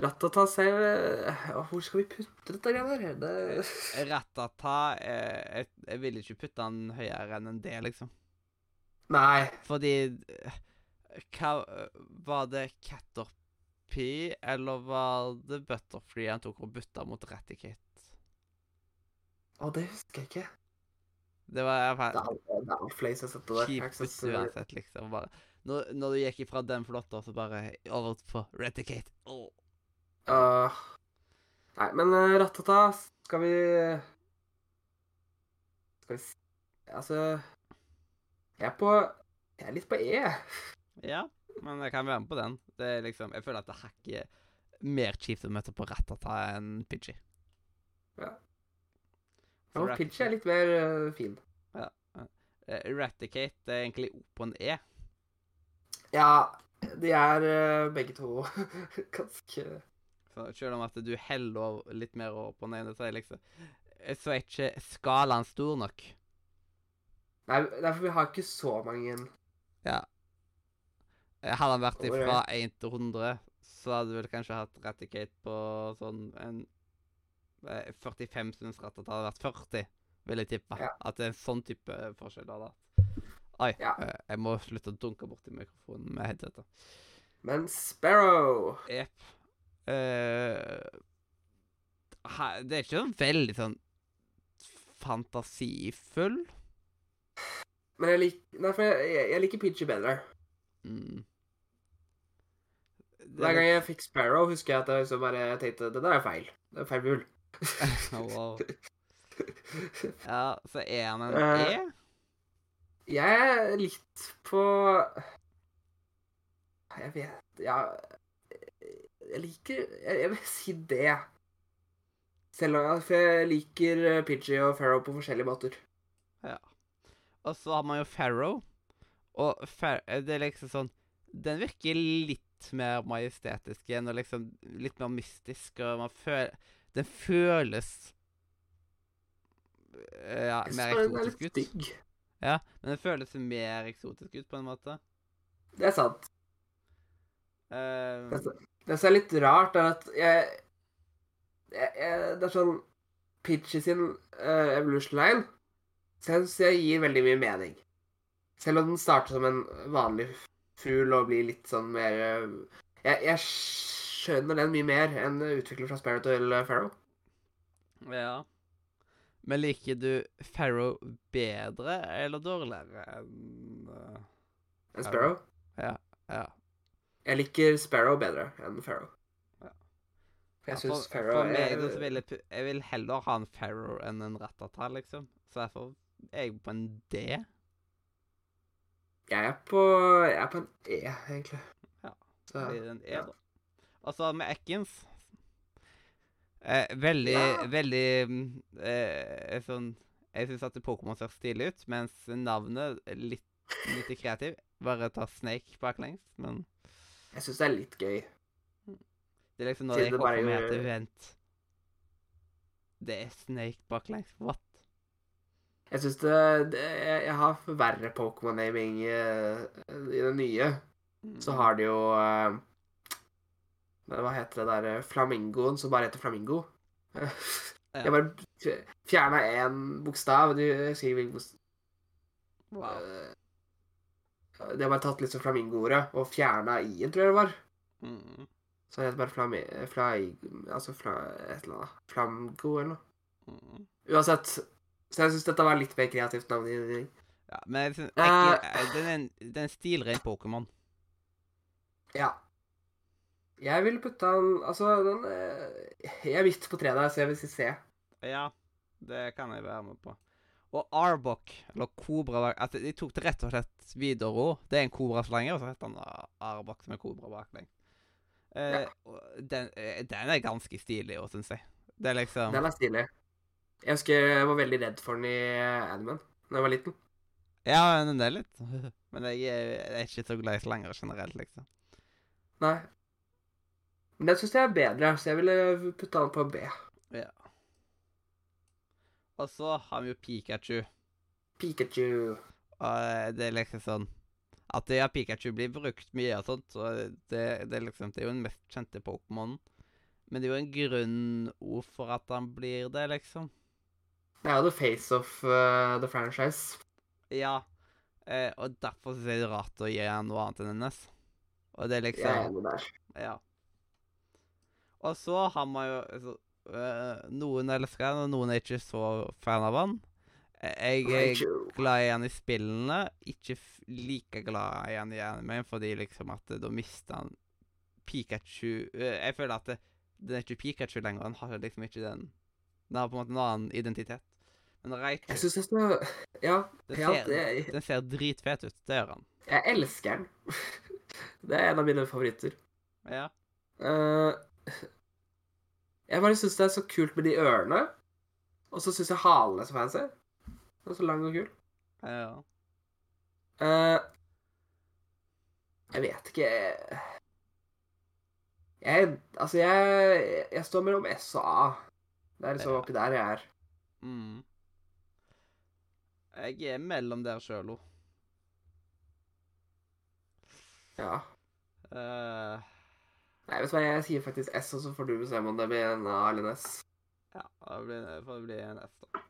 S2: Rattata ser ja, eh, Hvor skal vi putte dette greiet her? Det
S1: Ratata eh, jeg, jeg ville ikke putte han høyere enn en D, liksom.
S2: Nei.
S1: Fordi eh, Hva eh, Var det Caterpie, eller var det Butterfree han tok og bytta mot Raticate?
S2: Å, det husker jeg ikke.
S1: Det var i hvert
S2: Det
S1: fall
S2: er, det er flere som setter det. Jeg
S1: kjipt
S2: synes
S1: bytte uansett, liksom. Bare. Når, når du gikk ifra den flotta, så bare over på Raticate. Åh.
S2: det- Åh. Ah. nei, men eh, Rattata skal vi Skal vi s- Altså Jeg er på Jeg er litt på E.
S1: Ja, men jeg kan være med på den. Det er liksom, jeg føler at det er hakket mer kjipt å møte på Ratata enn Pidgey.
S2: Ja.
S1: For
S2: Ja,
S1: Rat-
S2: Pitchy er litt mer eh, fin.
S1: eh, Raticate er egentlig O på en E.
S2: Ja, de er eh, begge to ganske
S1: Så selv om at du heller over- litt mer over på den ene, så er liksom Så er ikke skalaen stor nok.
S2: Nei, derfor vi har ikke så mange igjen.
S1: Eh, Hadde han vært
S2: Å, ja.
S1: ifra 1 til 100, så hadde du vel kanskje hatt Raticate på sånn en eh, 45 synes Ratata hadde vært 40, vil jeg tippe.
S2: Ja.
S1: At det er en sånn type forskjell det hadde vært. Oi,
S2: Ja.
S1: eh, jeg må slutte å dunke borti mikrofonen med headsetet.
S2: Men Sparrow
S1: Jepp. Eh, ha- det er ikke sånn veldig sånn fantasifull.
S2: Men jeg, lik, nei, for jeg, jeg, jeg liker Pitchy bedre.
S1: Mm. Det
S2: Hver
S1: er
S2: gang jeg fikk Sparrow, husker jeg at jeg liksom bare tenkte det der er feil. Det er feil hjul.
S1: litt- Wow. Ja, så er han en
S2: Eh.
S1: E?
S2: Jeg er litt på Jeg vet Ja Jeg liker Jeg, jeg vil si det. Selv om for jeg liker eh, Pidgey og Pharaoh på forskjellige måter.
S1: Og så har man jo Pharaoh. Og Phar- eh, det er liksom sånn Den virker litt mer majestetisk igjen, og liksom litt mer mystisk, og man føler Den føles eh, Ja,
S2: Jeg
S1: mer
S2: synes den er
S1: eksotisk ut.
S2: litt digg.
S1: Men den føles mer eksotisk ut, på en måte.
S2: Det er sant.
S1: Eh,
S2: Det er sant. Det som er litt rart, er at jeg, jeg, jeg Det er sånn Pidgey sin eh, Evolution Line syns jeg gir veldig mye mening. Selv om den starter som en vanlig fugl og blir litt sånn mer eh, jeg, jeg skjønner den mye mer enn utvikler fra Sparrow til eh, Pharaoh.
S1: ja. Men liker du Pharaoh bedre eller dårligere enn eh,
S2: Enn Sparrow.
S1: Ja.
S2: Jeg liker Sparrow bedre enn Pharaoh.
S1: Ja.
S2: For Jeg
S1: Ja,
S2: syns
S1: for-
S2: Pharaoh
S1: For meg så
S2: er
S1: vil jeg, pu- jeg vil heller ha en Pharaoh enn en Rattata, liksom. Så derfor er jeg på en D.
S2: Jeg er på Jeg er på en E, egentlig.
S1: Ja.
S2: Så,
S1: Blir det en E,
S2: ja.
S1: da. Og så med Ekkins eh, Veldig,
S2: Ja.
S1: veldig mm, eh, sånn Jeg syns at Pokémon ser stilig ut, mens navnet er litt lite kreativ. Bare ta Snake baklengs, men
S2: jeg syns det er litt gøy.
S1: det er liksom når
S2: Siden
S1: jeg
S2: det
S1: kommer
S2: bare
S1: med
S2: gjør-
S1: til Vent. Det er Snake baklengs. What?
S2: Jeg syns det, det jeg, jeg har verre Pokémon-naming eh, i det nye.
S1: Mm.
S2: Så har de jo eh, men Hva heter det der eh, flamingoen som bare heter flamingo? Jeg bare fjerna én bokstav. Du skriver hvilken bokstav
S1: Wow.
S2: De har bare tatt liksom flamingo-ordet og fjerna i-en, tror jeg det var.
S1: Mm.
S2: Så det heter bare flami... Fly, altså fla, et eller annet. Flamgo eller noe.
S1: Mm.
S2: Uansett. Så jeg syns dette var litt mer kreativt navngivning.
S1: Ja, men jeg synes,
S2: Eh.
S1: ikke, eh, den er en, den er en stilren Pokémon.
S2: Ja. Jeg ville putta den Altså, den eh, Jeg er midt på treet der, så jeg vil si C.
S1: Ja, det kan jeg være med på. Og Arbok, eller kobra altså, De tok det rett og slett videre òg. Det er en kobraslange, og så heter han Ar- Arbok, som er kobra baklengs. Eh,
S2: Ja.
S1: og den, eh, den er ganske stilig òg, syns jeg. Det er liksom
S2: Den er stilig. Jeg husker jeg var veldig redd for den i Animan da jeg var liten.
S1: Ja, den er litt Men jeg er, jeg er ikke så glad i slanger generelt, liksom.
S2: Nei. Men den syns jeg er bedre, så jeg ville putta den på B.
S1: Og så har vi jo Pikachu.
S2: Pikachu.
S1: Og det er liksom sånn At ja, Pikachu blir brukt mye og sånt, så det, det er liksom Det er jo den mest kjente Pokémonen. Men det er jo en grunn ord for at han blir det, liksom.
S2: Det er jo the face of eh, the franchise.
S1: Ja. Eh, og derfor synes jeg det er rart å gi han noe annet enn NS. Og det er
S2: Jeg er
S1: liksom
S2: enig der.
S1: Ja. Og så har man jo altså, eh, Noen elsker han, og noen er ikke så fan av han. Eh, Jeg, jeg
S2: Pikachu.
S1: glad i han i spillene, ikke f like glad i han i animen, fordi liksom at eh, da mister han Pikachu eh, Jeg føler at det, den er ikke Pikachu lenger, han har liksom ikke den Den har på en måte en annen identitet. Men Raichu,
S2: Jeg syns det er så Ja.
S1: den
S2: Altså, ja
S1: ser,
S2: det,
S1: den ser dritfet ut, det gjør han.
S2: jeg elsker den. det er en av mine favoritter.
S1: Ja.
S2: Eh, jeg bare syns det er så kult med de ørene. Og så syns jeg halen er så fancy. Den er så lang og kul.
S1: ja.
S2: Eh, jeg vet ikke Jeg, jeg Altså, jeg, jeg står mellom S og A. Det er liksom
S1: Ja.
S2: oppi der jeg er.
S1: Mm. Jeg er mellom der sjøl òg.
S2: Ja.
S1: Eh,
S2: Nei, vet du hva, jeg sier faktisk S, og så får du bestemme om det blir en A eller en S.
S1: Ja, da blir det får det bli en S, da.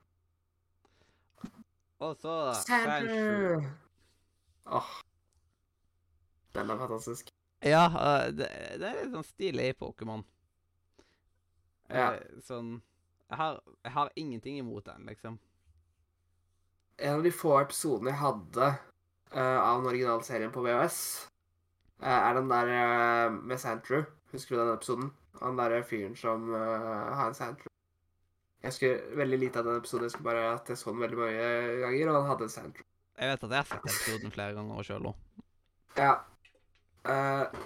S1: Og så Raichu.
S2: Sandra! Åh. Den er fantastisk.
S1: Ja, eh, det, det er litt sånn stilig Pokémon.
S2: Ja.
S1: Eh, Sånn jeg har, jeg har ingenting imot den, liksom.
S2: en av de få episodene jeg hadde eh, av den originale serien på VHS, eh, er den der eh, med Santrew. Husker du den episoden? Han derre fyren som eh, har en Santrew. Jeg husker veldig lite av den episoden. Jeg husker bare at jeg så den veldig mange ganger, og han hadde en soundtrack.
S1: Jeg vet at jeg har sett episoden flere ganger sjøl òg.
S2: Ja. Eh,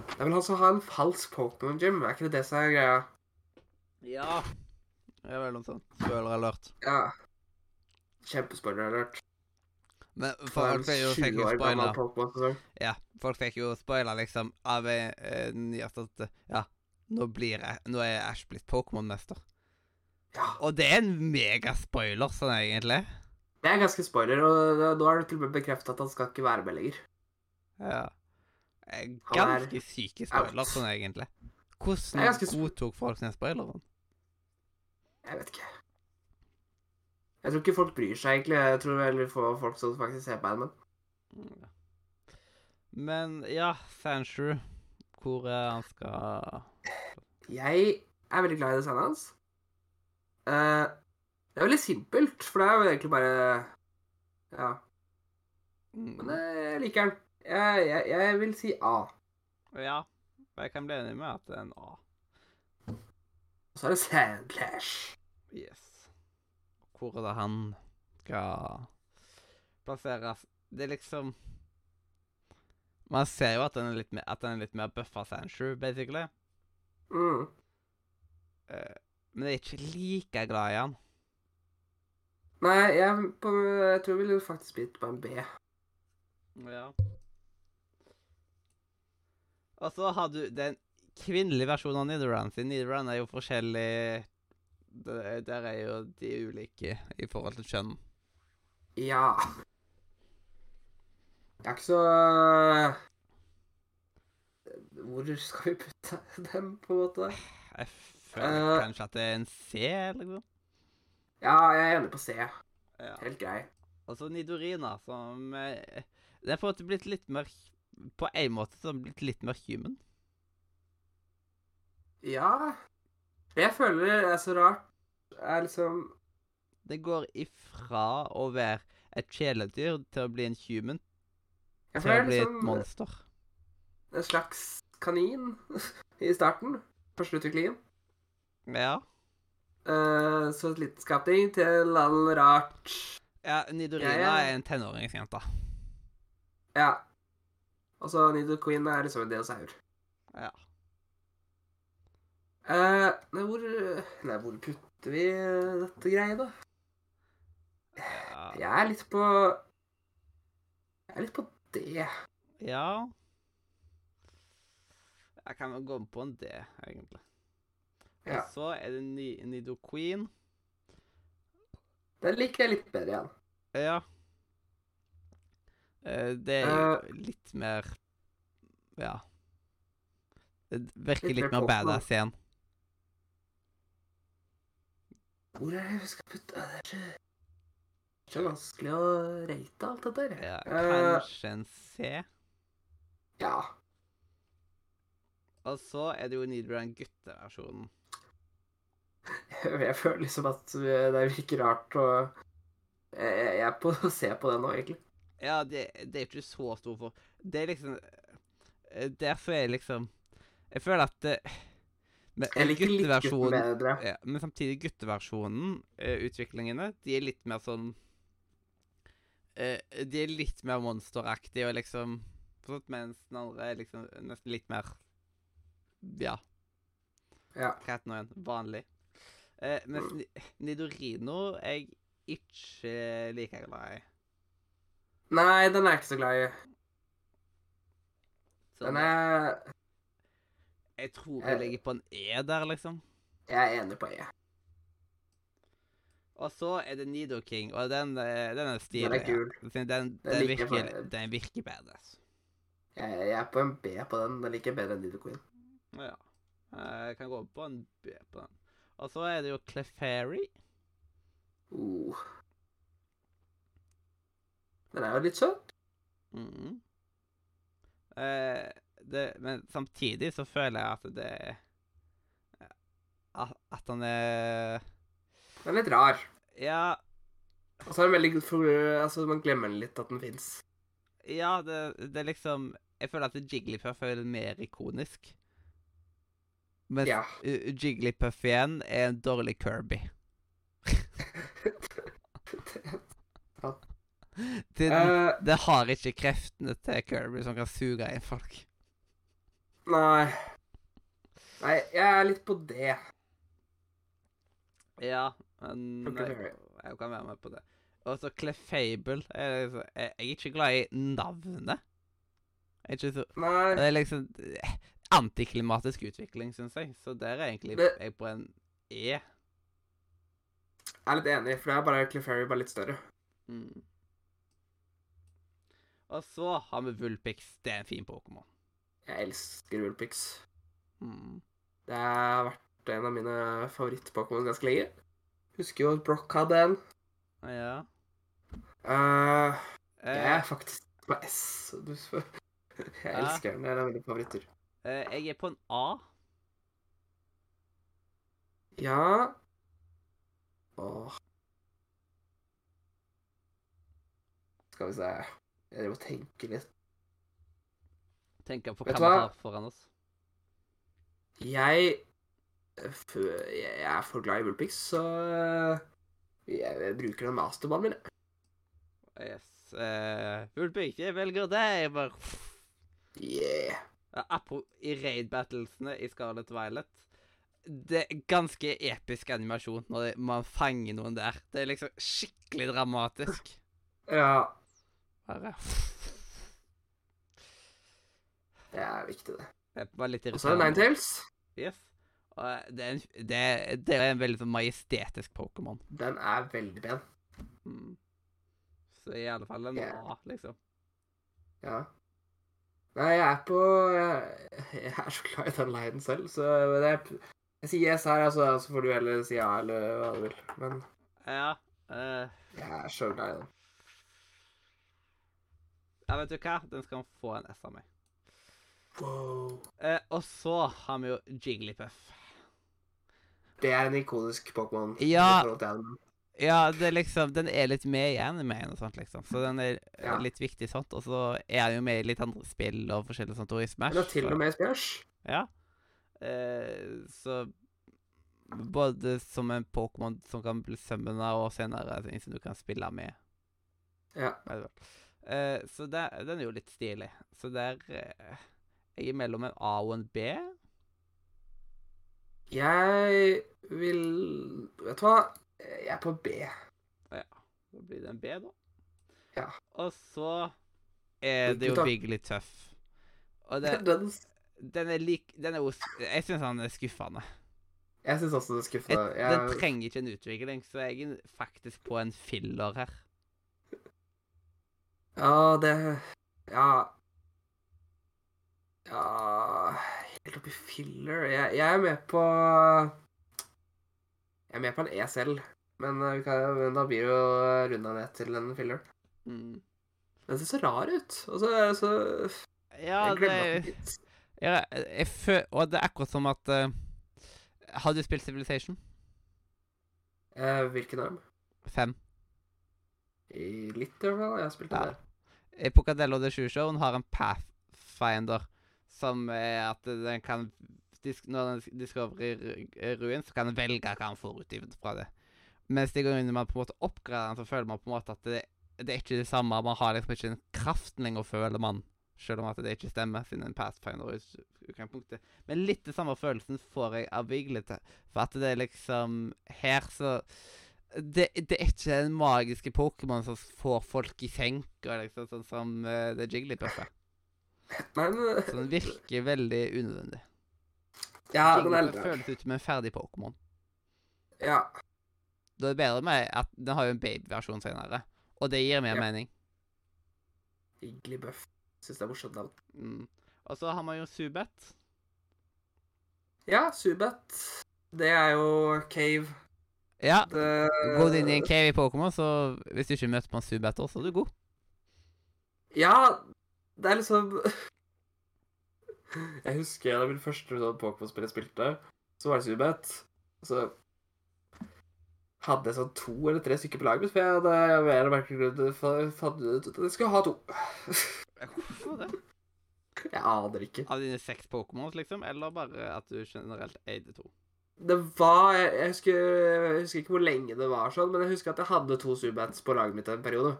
S2: det er vel han som har en falsk Pokémon Gym, er ikke det det som er greia?
S1: Ja. Det er vel noe sånt. Spoiler alert.
S2: Ja. Kjempespoiler alert.
S1: Men
S2: Det er
S1: folk
S2: en
S1: fikk jo, fikk
S2: 20
S1: jo
S2: år gammel
S1: spoiler.
S2: Pokémon-sesong.
S1: Ja, folk fikk jo spoiler liksom av eh, eh, nyheten at eh, ja, nå blir jeg, nå er Ash blitt Pokémon-mester.
S2: Ja.
S1: Og det er en megaspoiler, sånn egentlig.
S2: Det er ganske spoiler, og det- nå er det til og med bekreftet at han skal ikke være med lenger.
S1: Ja. Eh,
S2: Han er
S1: Ganske syke spoiler,
S2: out.
S1: sånn egentlig.
S2: Det
S1: Hvordan
S2: er ganske sp-
S1: godtok folk den spoileren?
S2: Jeg vet ikke. Jeg tror ikke folk bryr seg, egentlig. Jeg tror veldig få folk som faktisk ser på Animan.
S1: Men ja, Sanshu Hvor eh, han skal
S2: Jeg er veldig glad i designet hans. Eh, det er veldig simpelt, for det er jo egentlig bare Ja. Men
S1: mm,
S2: eh, jeg liker den. Jeg, jeg, jeg vil si A.
S1: Ja. Jeg kan bli enig med at det er en A.
S2: Og så er det Sandlash.
S1: Yes. Hvor er det han skal plasseres? Det er liksom Man ser jo at den er litt mer, at den er litt mer buffa Sanshu, basically.
S2: Mm.
S1: Eh, men jeg er ikke like glad i han.
S2: Nei, jeg, på, jeg tror jeg ville faktisk blitt på en B.
S1: Ja. Og så har du den kvinnelige versjonen av Nidoran. Siden Nidoran er jo forskjellig Det- Der er jo de ulike i forhold til kjønn.
S2: Ja. Jeg er ikke så eh, Hvor skal vi putte dem, på en måte?
S1: Jeg føler
S2: Eh.
S1: kanskje at det er en C, liksom.
S2: Ja, jeg er enig på C.
S1: Ja.
S2: Helt grei.
S1: Og så Altså, Nidorina, som eh, Det er på en måte blitt litt mer På en måte så har den blitt litt mer human.
S2: Ja. Det jeg føler er så rart, er liksom
S1: Det går ifra å være et kjæledyr til å bli en human, til å
S2: Jeg føler
S1: bli et
S2: liksom
S1: monster.
S2: en slags kanin i starten. Første utviklingen.
S1: Ja.
S2: Eh, så et liten skapning til en rart
S1: ja Nidorina
S2: Jeg er-
S1: er en tenåringsjente.
S2: Ja. Og så Nido Queen er liksom en dinosaur.
S1: Ja.
S2: Eh, nei, hvor Nei, hvor putter vi eh, dette greiet, da?
S1: Ja.
S2: Jeg er litt på Jeg er litt på det.
S1: ja. Jeg kan vel gå med på en D, egentlig.
S2: Ja.
S1: Og så er det Ni Nido Queen.
S2: Den liker jeg litt bedre igjen.
S1: Ja. Eh, Det er jo litt mer Ja. Det virker
S2: Litt
S1: litt
S2: mer
S1: mer
S2: Pokémon.
S1: badass igjen.
S2: Hvor er det vi skal putte Det er ikke- det er så vanskelig å rate alt dette her.
S1: Ja,
S2: Eh,
S1: kanskje en C.
S2: ja.
S1: Og så er det jo Nidoran gutteversjonen.
S2: Jeg føler liksom at det virker rart å Jeg jeg er på å se på det nå, egentlig.
S1: Ja, det, det er ikke så stor for Det er liksom eh, Derfor er liksom Jeg føler at eh, det, men
S2: Jeg liker litt gutten
S1: gutteversjonen
S2: bedre.
S1: Ja, men samtidig gutteversjonen, eh, utviklingene, de er litt mer sånn eh, De er litt mer monsteraktige og liksom sånn, Mens den andre er liksom nesten litt mer Ja,
S2: Ja.
S1: hva heter den nå igjen? Vanlig. Eh, mens Ni- Nidorino er jeg ikke like glad i.
S2: Nei, den er jeg ikke så glad i.
S1: Så
S2: Den er
S1: jeg tror jeg ligger på en E der, liksom.
S2: Jeg er enig på E.
S1: Og så er det Nidoking, og den, eh, den er stilig.
S2: Den er kul.
S1: Den, den,
S2: Den
S1: den,
S2: liker jeg
S1: virker,
S2: bare.
S1: den virker altså. badass.
S2: Jeg, jeg er på en B på den. Den liker jeg bedre enn Nido Queen.
S1: Ja. Eh, Jeg kan gå på en B på den. Og så er det jo Clefairy.
S2: Uh. Den er jo litt søt. Mm.
S1: Mhm. Eh, det, men samtidig så føler jeg at det At, at han er
S2: Den er litt rar.
S1: Ja,
S2: Og så er den veldig god for Altså, man glemmer litt at den fins.
S1: ja det, det er liksom Jeg føler at Jigglypuff er mer ikonisk. Mens
S2: Ja.
S1: U- Jigglypuff igjen er en dårlig Kirby. Siden
S2: Eh,
S1: det har ikke kreftene til Kirby som kan suge inn folk.
S2: nei. Nei, jeg er litt på det.
S1: Ja, men
S2: Ok,
S1: jeg,
S2: ok.
S1: jeg kan være med på det. Og så Clefable Jeg jeg er ikke glad i navnet. Jeg er ikke så
S2: Nei.
S1: Det er liksom eh, antiklimatisk utvikling, syns jeg. Så der er egentlig
S2: Det-
S1: jeg på en E.
S2: Jeg er litt enig, for det er bare Clefairy bare litt større.
S1: Mm. Og så har vi Vulpix. Det er en fin Pokémon.
S2: Jeg elsker Woolpix.
S1: Mm.
S2: Det har vært en av mine favoritt-Pokémon ganske lenge. Husker jo at Broch hadde en.
S1: Ja.
S2: Eh, jeg
S1: Eh,
S2: er faktisk på S. så Du spør. Jeg
S1: Ja.
S2: elsker den. Det er en av mine favoritter.
S1: eh, jeg er på en A.
S2: Ja Åh. Skal vi se Jeg driver og tenker litt.
S1: Tenker på hva
S2: Vet
S1: vi
S2: du hva?
S1: har foran oss.
S2: Jeg f- Jeg er for glad i Woolpix, så eh, jeg bruker den masterballen min. jeg.
S1: Yes. Eh, Vulpix, jeg velger deg. Jeg Bare
S2: Yeah.
S1: Ja, Eh, Apro i raid-battlesene i Scarlet Violet Det er ganske episk animasjon når det, man fanger noen der. Det er liksom skikkelig dramatisk.
S2: Ja,
S1: Bare
S2: det er viktig, det.
S1: Det var litt
S2: Og så er det
S1: irriterende.
S2: Ninetales.
S1: Yes. Og eh, det er en, det, er- det er en veldig sånn majestetisk Pokémon.
S2: Den er veldig pen.
S1: Mm. Så i alle fall en
S2: Ja.
S1: A, liksom.
S2: Ja. Nei, jeg er på Jeg, jeg er så glad i den leien selv, så men jeg, jeg sier yes her, altså, så får du heller si ja eller hva du vil. Men
S1: Ja. eh,
S2: jeg er så glad i den.
S1: ja, vet du hva? Den skal få en S av meg.
S2: Wow.
S1: Eh, og så har vi jo Jigglypuff.
S2: Det er en ikonisk Pokémon. i
S1: Ja.
S2: forhold til den.
S1: Ja, det er liksom, den er litt med i animeen og sånt, liksom. Så den er eh,
S2: Ja.
S1: litt viktig sånt. Og så er den jo med i litt andre spill og forskjellig sånt, og i Smash.
S2: Den er til
S1: så-
S2: og med i Smash.
S1: Ja. Eh, så både som en Pokémon som kan bli summona, og senere en som du kan spille med.
S2: Ja.
S1: Vet du hva. Eh, så der, den er jo litt stilig. Så der eh, Jeg er mellom en A og en B.
S2: Jeg vil Vet du hva? Jeg er på B.
S1: Da blir det en B, da.
S2: Ja.
S1: Og så er det
S2: Du
S1: jo
S2: tar-
S1: Big Litt Tøff. Og det,
S2: Den,
S1: den er lik Den er jo sk- Jeg syns han er skuffende.
S2: jeg syns også det er
S1: Et,
S2: skuffende.
S1: den
S2: Jeg,
S1: trenger ikke en utvikling, så jeg er faktisk på en filler her.
S2: ja, det Ja. Ja Helt oppi filler. Jeg, jeg er med på Jeg er med på en E selv, men, eh, vi kan, men da blir det jo eh, runda ned til en filler.
S1: Mm.
S2: Den ser så rar ut. Og så, eh, så
S1: Ja,
S2: Jeg
S1: det
S2: glemmer
S1: er
S2: at den fins.
S1: Ja, jeg fø og det er akkurat som at eh, Har du spilt Civilization?
S2: Eh, Hvilken arm?
S1: 5.
S2: I litt, i hvert fall. Jeg har spilt
S1: Ja.
S2: den der.
S1: I Pocatello de Shoeshow har en Pathfinder som er at den kan dis Når den discoverer ru- eh, ruin, så kan den velge hva den får ut i- fra det. Mens de gangene man på en måte oppgraderer den, så føler man på en måte at det, det er ikke det samme. Man har liksom ikke den kraften lenger, føler man. Selv om at det ikke stemmer, siden en Pathfinder er ut- utgangspunktet. Men litt den samme følelsen får jeg av Viglete. For at det er liksom Her så det, det er ikke den magiske Pokémon som får folk i senka, liksom, sånn som eh, det Jigglypuff er.
S2: Nei, men eh,
S1: Så den virker veldig unødvendig.
S2: Ja, den
S1: Jigglypuff
S2: er litt rar.
S1: føles ut som en ferdig Pokémon.
S2: Ja.
S1: Da er det bedre med at den har jo en babyversjon senere, og det gir mer
S2: Ja.
S1: mening.
S2: Igglybuff. Syns det er morsomt navn.
S1: Mm. Og så har man jo Subet.
S2: Ja, Subat. Det er jo Cave.
S1: Ja,
S2: Det...
S1: gå inn i en cave i Pokémon, så hvis du ikke møter på en Subet også, så er du god.
S2: Ja, det er liksom Jeg husker da min første sånn Pokémon-spill jeg spilte, så var det Subat. Så hadde jeg sånn to eller tre stykker på laget mitt, for jeg hadde av en eller annen merkelig grunn fa- fant ut at jeg skulle ha to.
S1: Hvorfor det?
S2: Jeg aner ikke.
S1: Av dine seks Pokémons, liksom, eller bare at du generelt eide to.
S2: Det var jeg, jeg, husker, jeg husker ikke hvor lenge det var sånn, men jeg husker at jeg hadde to Subats på laget mitt en periode.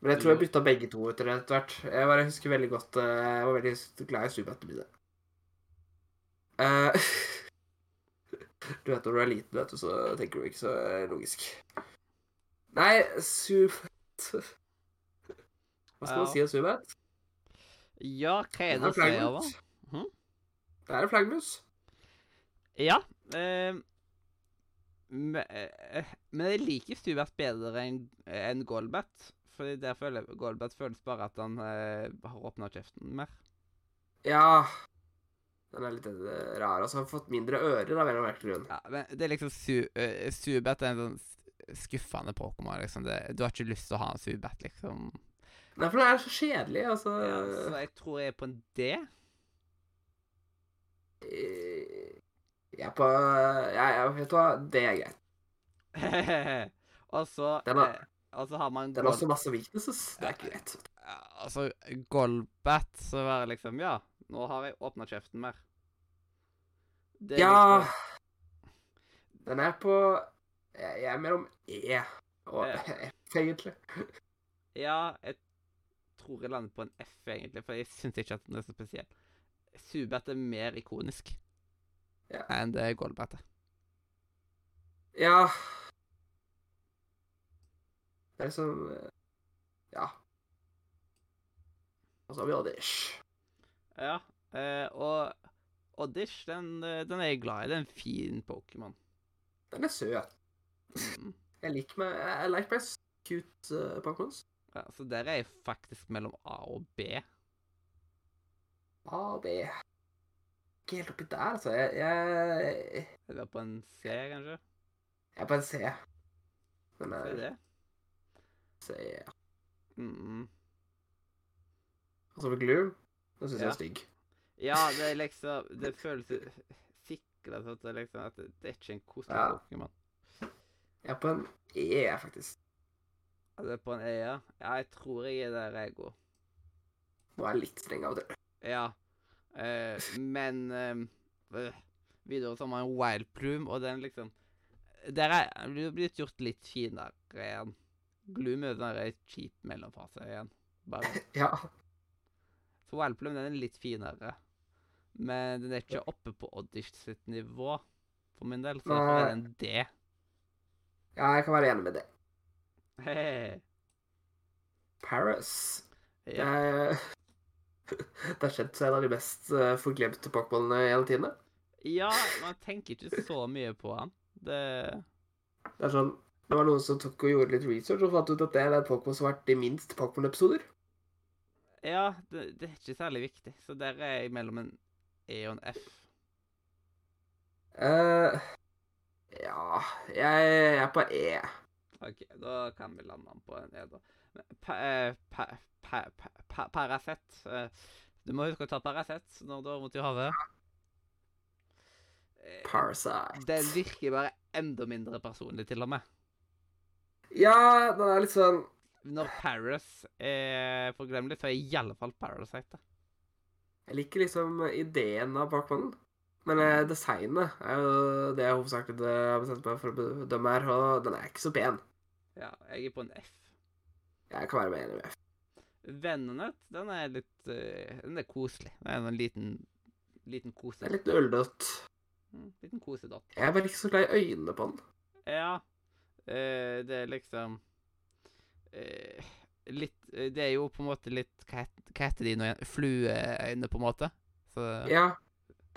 S2: Men jeg tror jeg bytta begge to etter hvert. Jeg bare husker veldig godt eh, Jeg var veldig glad i Subatene mine. Eh, du vet når du er liten, vet du, så tenker du ikke så logisk. Nei, Subat Hva skal man
S1: Ja.
S2: si om Subat?
S1: Ja, hva er det
S2: Det er
S1: du sier, da?
S2: flaggermus.
S1: Mhm.
S2: Det er en flaggermus.
S1: Ja. Eh, men, eh, men jeg liker Stubert bedre enn enn Golbat. Fordi der føler jeg- Golbat føles bare at han eh, har åpna kjeften mer.
S2: Ja Den er litt eh, rar. Altså, han har fått mindre ører av en eller annen merkelig grunn.
S1: Ja, men det er liksom su eh, Stubert er en sånn s- skuffende Pokémon. liksom. Det, du har ikke lyst til å ha en Stubert, liksom.
S2: Nei, for den er så kjedelig, altså.
S1: Ja, så jeg tror jeg er på en D.
S2: eh, Jeg er på ja, jeg, Vet du hva, det er greit.
S1: og så
S2: Den er-
S1: eh, Og så har man
S2: Den har også masse weaknesses. Det er ikke greit.
S1: Ja, Altså, Golbat, så var det liksom Ja, nå har jeg åpna kjeften mer. Det er
S2: Ja
S1: liksom-
S2: Den er på Jeg jeg er mellom E og F, egentlig.
S1: ja, jeg tror jeg lander på en F, egentlig, for jeg syns ikke at den er så spesiell. Subat er mer ikonisk
S2: Ja.
S1: enn det Golbat er.
S2: Ja Det er liksom eh, Ja. Og så har vi Oddish.
S1: Ja, eh, og Oddish, den, eh, den er jeg glad i. Det er en fin Pokémon.
S2: Den er søt.
S1: Mm.
S2: Jeg liker meg Jeg liker meg cute uh, Pokémons.
S1: Ja, så der er jeg faktisk mellom A og B.
S2: A og B. Ikke helt oppi der, altså. Jeg, jeg,
S1: Eller på en C, kanskje.
S2: jeg er på en C. Den
S1: Så er
S2: er
S1: det.
S2: C.
S1: Mm.
S2: Og så med Gloom. Den syns jeg
S1: Ja.
S2: er stygg.
S1: Ja, det er liksom Det føles sikla sånn at det liksom at det det er ikke en koselig
S2: Ja.
S1: Pokémon.
S2: Jeg er på en E, faktisk.
S1: Ja, Det er på en øye. Ja, jeg tror jeg er der jeg går.
S2: Nå er jeg litt streng av og til.
S1: Ja. Eh, men eh, øh, videre så har man Wild Plume, og den liksom Der er den blir blitt gjort litt finere igjen. Gloom er den der kjip mellomfase igjen. Bare.
S2: Ja.
S1: Så Wild Plume den er litt finere. Men den er ikke oppe på Oddish sitt nivå, for min del. Så derfor er den D.
S2: ja, jeg kan være enig med det.
S1: Hehehe.
S2: Paris.
S1: Ja.
S2: Det er- det er kjent som en av de mest eh, forglemte pokémonene gjennom tidene.
S1: Ja, man tenker ikke så mye på han. Det
S2: Det er sånn, det var noen som tok og gjorde litt research og fant ut at det er den pokémon som har vært i minst pokémon-episoder.
S1: Ja, det, det er ikke særlig viktig. Så der er jeg mellom en E og en F.
S2: eh ja jeg, jeg er på E.
S1: OK, da kan vi lande han på en E, da. Men Pa, eh, pa, pa, pa, pa, Paracet. eh, Du må huske å ta Paracet når du har vondt i hodet. Eh,
S2: Parasite.
S1: Den virker bare enda mindre personlig, til og med.
S2: Ja, den er litt sånn
S1: Når Paris er forglemmelig, så er i alle fall Parasite det.
S2: Jeg liker liksom ideen av pokémonen. Men eh, designet er jo det jeg hovedsakelig det jeg har bestemt meg for å bedømme her, og den er ikke så pen.
S1: Ja, jeg er på en F.
S2: Jeg kan være med enig med F.
S1: Vennene, den er litt eh, Den er koselig. Det er en liten liten
S2: Det
S1: kose...
S2: er litt øldødt.
S1: Mm, Liten kosedott.
S2: Jeg er bare ikke så glad i øynene på den.
S1: Ja. eh, det er liksom eh, Litt eh, Det er jo på en måte litt Hva het- hva heter de nå igjen? Flueøyne, på en måte? Så
S2: Ja.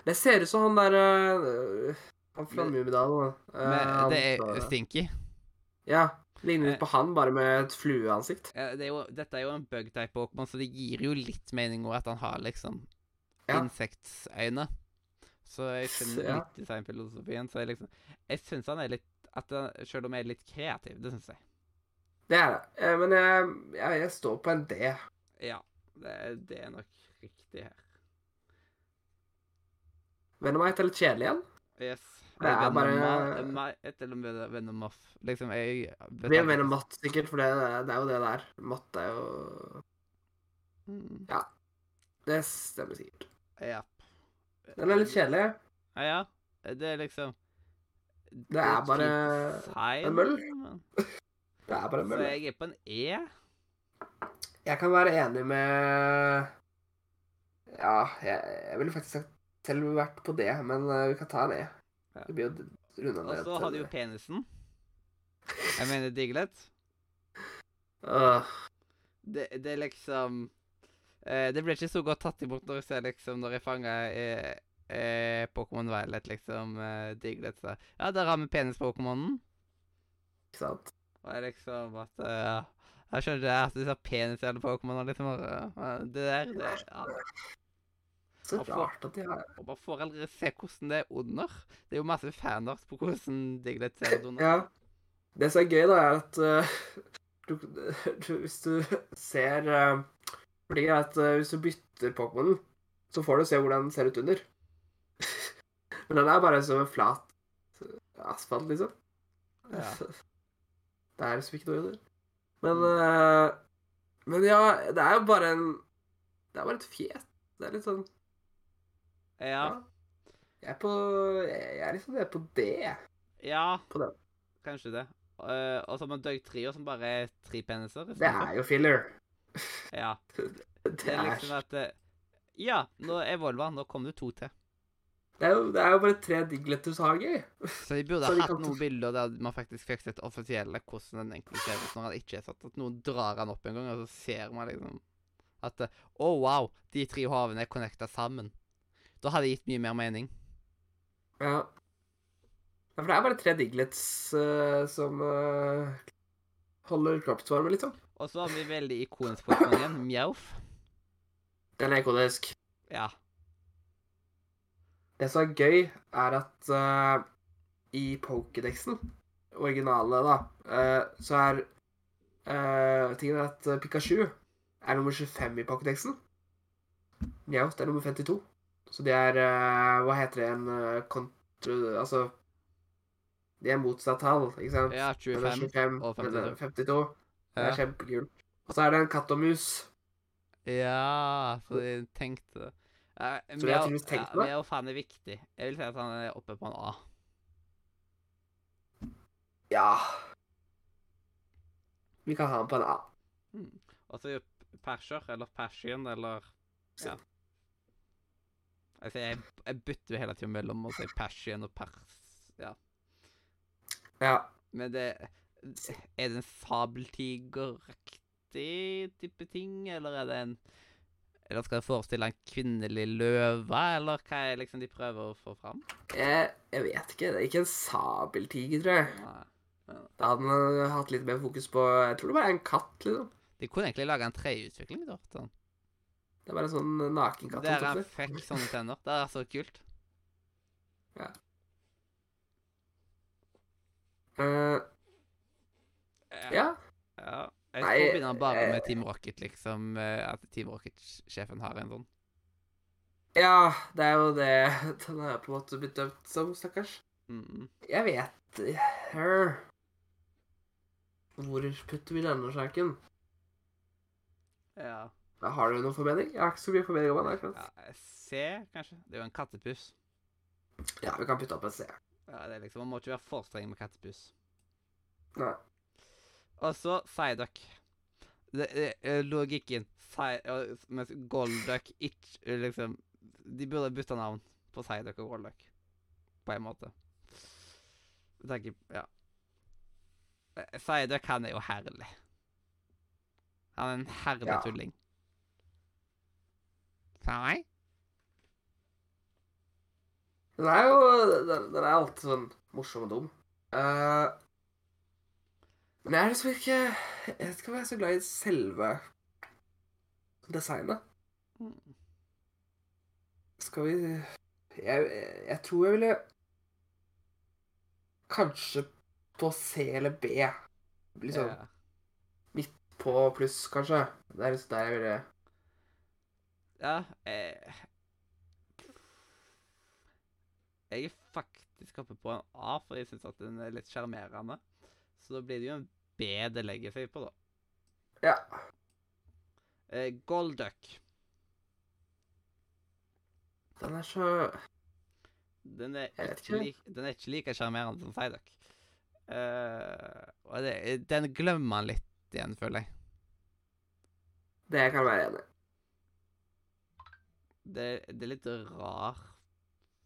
S2: Det ser ut som han der øh, Han fra
S1: Men-
S2: Mummidalen. øh,
S1: men,
S2: han
S1: Det er
S2: fra-
S1: Stinky.
S2: Ja. Ligner
S1: Eh.
S2: litt på han, bare med et flueansikt.
S1: Eh, det er jo, dette er jo en bug-type Pokémon, så det gir jo litt mening også at han har liksom
S2: Ja.
S1: insektsøyne. Så jeg skjønner
S2: Ja.
S1: litt designfilosofien. Så jeg liksom Jeg syns han er litt at han, Selv om jeg er litt kreativ, det syns jeg.
S2: Det er det. Eh, Men jeg, jeg, jeg står på en D.
S1: Ja, det, det er nok riktig her.
S2: Venomite er litt kjedelig igjen.
S1: Yes.
S2: Det er bare-
S1: Venomoff. Til og med Venomoff. Liksom, jeg
S2: Det blir Venomat sikkert, for det, det er jo det det er. Matt er jo
S1: Mm,
S2: Det stemmer sikkert.
S1: ja.
S2: Den er litt kjedelig.
S1: Ja, ja. Det er liksom
S2: Det er bare en møll. Det er bare en
S1: Så
S2: mølle.
S1: jeg er på en E.
S2: Jeg kan være enig med Ja, jeg, jeg ville faktisk sagt selv vært på det, men eh, vi kan ta en E.
S1: Ja.
S2: Det blir jo runda
S1: Og
S2: ned.
S1: så har du jo penisen. Jeg mener Diglett.
S2: Åh,
S1: Det, det er liksom eh, Det ble ikke så godt tatt imot når jeg ser liksom Når jeg fanger eh, eh, Pokémon Violet, liksom eh, Diglett så Ja, der har vi penis-Pokémonen.
S2: ikke sant?
S1: Og jeg liksom at eh, Jeg skjønner det at disse penisjævla Pokémonene liksom eh, Det der det, ja.
S2: Så
S1: Og for-
S2: rart at de har
S1: Og man får aldri se hvordan det er under. Det er jo masse fanart på hvordan Diglett ser ut under.
S2: Ja. Det som er gøy, da, er at eh, du, du, hvis du ser uh, Fordi at eh, hvis du bytter Pokémonen, så får du se hvordan den ser ut under. Men den er bare som en flat eh, asfalt, liksom.
S1: Ja.
S2: Det er liksom ikke noe under. Men eh, Men ja, det er jo bare en Det er bare et fjes. Det er litt sånn
S1: ja.
S2: Jeg er på Jeg, jeg er liksom jeg er på D.
S1: Ja.
S2: På den.
S1: Kanskje det. Eh, og så har man Doug Trio, som bare er tre peniser. i
S2: Det
S1: stedet.
S2: er jo filler.
S1: Ja. Det
S2: Det
S1: er
S2: er
S1: liksom at eh, Ja, nå evolver han. Nå kom det to til.
S2: Det er jo, det er jo bare tre Digletters har det gøy.
S1: Så de burde
S2: Så de
S1: hatt
S2: kan-
S1: noen bilder der man faktisk fikk sett offisielle hvordan den egentlig ser ut når han ikke er satt. At noen drar han opp en gang, og så ser man liksom at eh, Å, wow, de tre havene er connecta sammen. Da hadde det gitt mye mer mening.
S2: Ja. ja. For det er bare tre Diglets eh, som eh, holder kroppsvarme, liksom.
S1: Og så har vi veldig ikonisk Pokémon igjen, Mjauf.
S2: Den er ikonisk.
S1: Ja.
S2: Det som er gøy, er at eh, i Pokédexen, originale, da, eh, så er eh, Tingen er at eh, Pikachu er nummer 25 i Pokédexen. Meowth er nummer 52. Så de er eh, Hva heter det en eh, kontru... Altså De er motsatt tall, ikke sant?
S1: Ja,
S2: Den er
S1: 25.
S2: 25
S1: og
S2: den er 52. Det
S1: Ja.
S2: er kjempekult. Og så er det en katt og mus.
S1: Ja, for de tenkte det. Uh,
S2: Så de har tydeligvis tenkt på det?
S1: Mjauf han er viktig. Jeg vil si at han er oppe på en A.
S2: Ja Vi kan ha den på en A.
S1: Og så er jo p- Altså, Perser, eller Persian, eller Ja. Altså, jeg, jeg bytter jo hele tiden mellom å si Persian og Pers... Ja.
S2: Ja.
S1: Men det Er det en sabeltigeraktig type ting, eller er det en Eller skal det forestille en kvinnelig løve, eller hva er liksom de prøver å få fram?
S2: Jeg, jeg vet ikke. Det er ikke en sabeltiger, tror jeg.
S1: Nei.
S2: Da hadde man eh, hatt litt mer fokus på Jeg tror det bare er en katt, liksom.
S1: De kunne egentlig laga en treutvikling. da, sånn.
S2: Det er bare en sånn nakenkatt.
S1: Der han
S2: omtrent.
S1: fikk sånne tenner. Det er så kult.
S2: Eh, ja.
S1: Ja. Jeg
S2: Nei,
S1: tror begynner bare
S2: eh,
S1: med Team Rocket, liksom. eh, At Team Rocket-sjefen har en sånn.
S2: ja, det er jo det den er på en måte blitt dømt som, stakkars.
S1: Mm, mm.
S2: Jeg vet Her. Hvor putter vi denne saken?
S1: Ja.
S2: Da Har du noen formening? Jeg har ikke så mye formening om den. akkurat.
S1: ja. C, kanskje? Det er jo en kattepuss.
S2: Ja, vi kan putte opp en C.
S1: Ja, det er liksom, Man må ikke være for streng med kattepuss.
S2: Nei.
S1: Og så Psyduck. Det, det, eh, logikken Psy, ja, Mens Golduck ikke liksom De burde bytta navn på Psyduck og Golduck. På en måte. Jeg tenker Ja. Eh, Psyduck, han er jo herlig. Han er en herlig
S2: Ja.
S1: tulling. Sånn. Sa jeg?
S2: Den er jo Den, den er alltid sånn morsom og dum. Eh, men jeg er liksom ikke Jeg vet ikke om jeg er så glad i selve designet.
S1: Mm.
S2: Skal vi Jeg, jeg tror jeg ville Kanskje på C eller B. Liksom
S1: Ja.
S2: på pluss, kanskje. Det er liksom der jeg ville
S1: Ja eh. Jeg er faktisk oppe på en A, for jeg syns at den er litt sjarmerende. Så da blir det jo en B det legger seg på, da.
S2: Ja.
S1: Eh, Golduck.
S2: Den er så
S1: Den er
S2: Jeg vet
S1: ikke,
S2: ikke.
S1: lik, den er ikke like sjarmerende som Psyduck. Eh, og det, den glemmer man litt igjen, føler jeg.
S2: Det kan jeg være enig i.
S1: Det, det er litt rar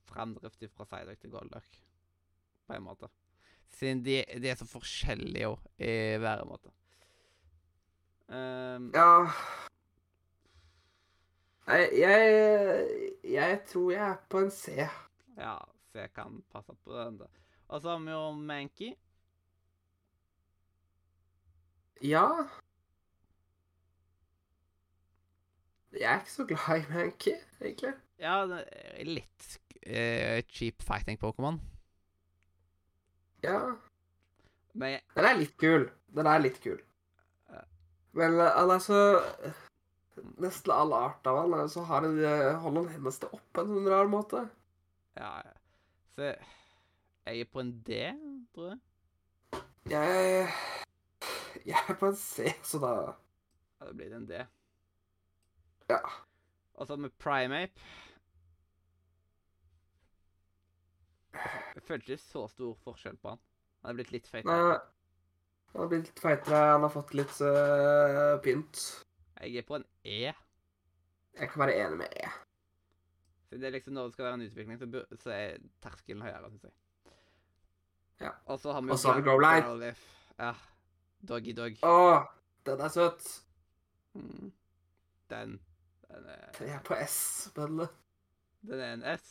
S1: framdrift fra Psyduck til Golduck, på en måte. Siden de, de er så forskjellige jo, i væremåte. Um,
S2: Ja Nei, jeg Jeg tror jeg er på en C.
S1: Ja, så jeg kan passe på den. da. Og så har vi jo Mankey.
S2: Ja. Jeg er ikke så glad i Mankey, egentlig.
S1: Ja, det er litt sk- eh, cheap fighting-Pokémon.
S2: Ja.
S1: Men jeg,
S2: Den er litt kul. Den er litt kul. Men eh, han er så Nesten all art av han er så har han, eh, holder han hendene sine opp på en sånn rar måte.
S1: ja, ja. Så jeg er på en D, tror jeg.
S2: Jeg Jeg er på en C, så da
S1: Ja, det blir det en D.
S2: Ja.
S1: Og så med Primeape Jeg føler ikke så stor forskjell på han. Han er blitt litt feit.
S2: Nei. Han har blitt litt feitere, han har fått litt eh, pynt.
S1: Jeg er på en E.
S2: Jeg kan være enig med E.
S1: Så det er liksom Når det skal være en utvikling, så, bur- så er terskelen høyere, syns jeg.
S2: Ja.
S1: Og så har vi
S2: Og så har vi
S1: Growl-
S2: Growlithe.
S1: Growlithe. Ja. Doggy dog.
S2: Å, den er søt.
S1: Mm. Den den er,
S2: Jeg er på S, men eh,
S1: den er en S.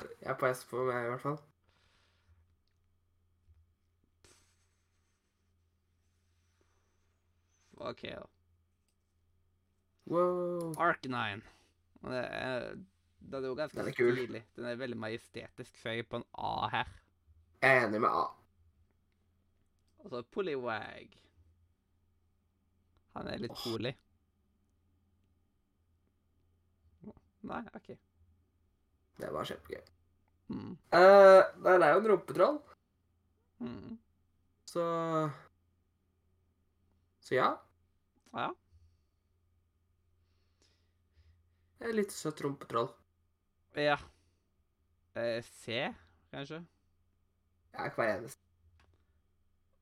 S2: jeg er på S på meg i hvert fall.
S1: OK, da.
S2: Wow.
S1: Arcanine. Og Det er, den er jo ganske
S2: Den er kul.
S1: stilig. Den er veldig majestetisk, så jeg er på en A her.
S2: Jeg er enig med A.
S1: Og så Poliwag. Han er litt eh.
S2: Åh.
S1: polig. Nei, OK.
S2: Det var kjempegøy.
S1: Mm.
S2: Eh, nei, det er jo en rumpetroll,
S1: Mm.
S2: så Så ja.
S1: Ja.
S2: En litt søt rumpetroll.
S1: Ja. Eh, C, kanskje?
S2: Jeg kan være enig med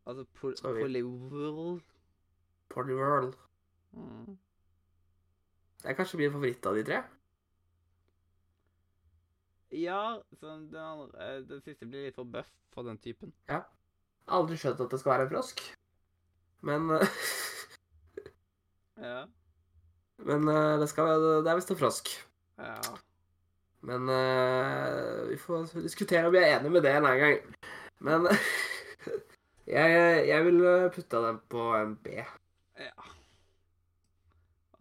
S1: Altså pol
S2: Sorry.
S1: Polyworld.
S2: Ponyworld.
S1: Mm.
S2: Det er kanskje min favoritt av de tre.
S1: Ja, så den, andre, eh, den siste blir litt for buff for den typen.
S2: Jeg har aldri skjønt at det skal være en frosk. Men eh,
S1: Ja.
S2: Men eh, det, skal, være- det er visst en frosk.
S1: ja.
S2: Men eh, vi får diskutere om jeg er enig med det en annen gang. Men jeg, jeg vil eh, putte den på en B.
S1: ja.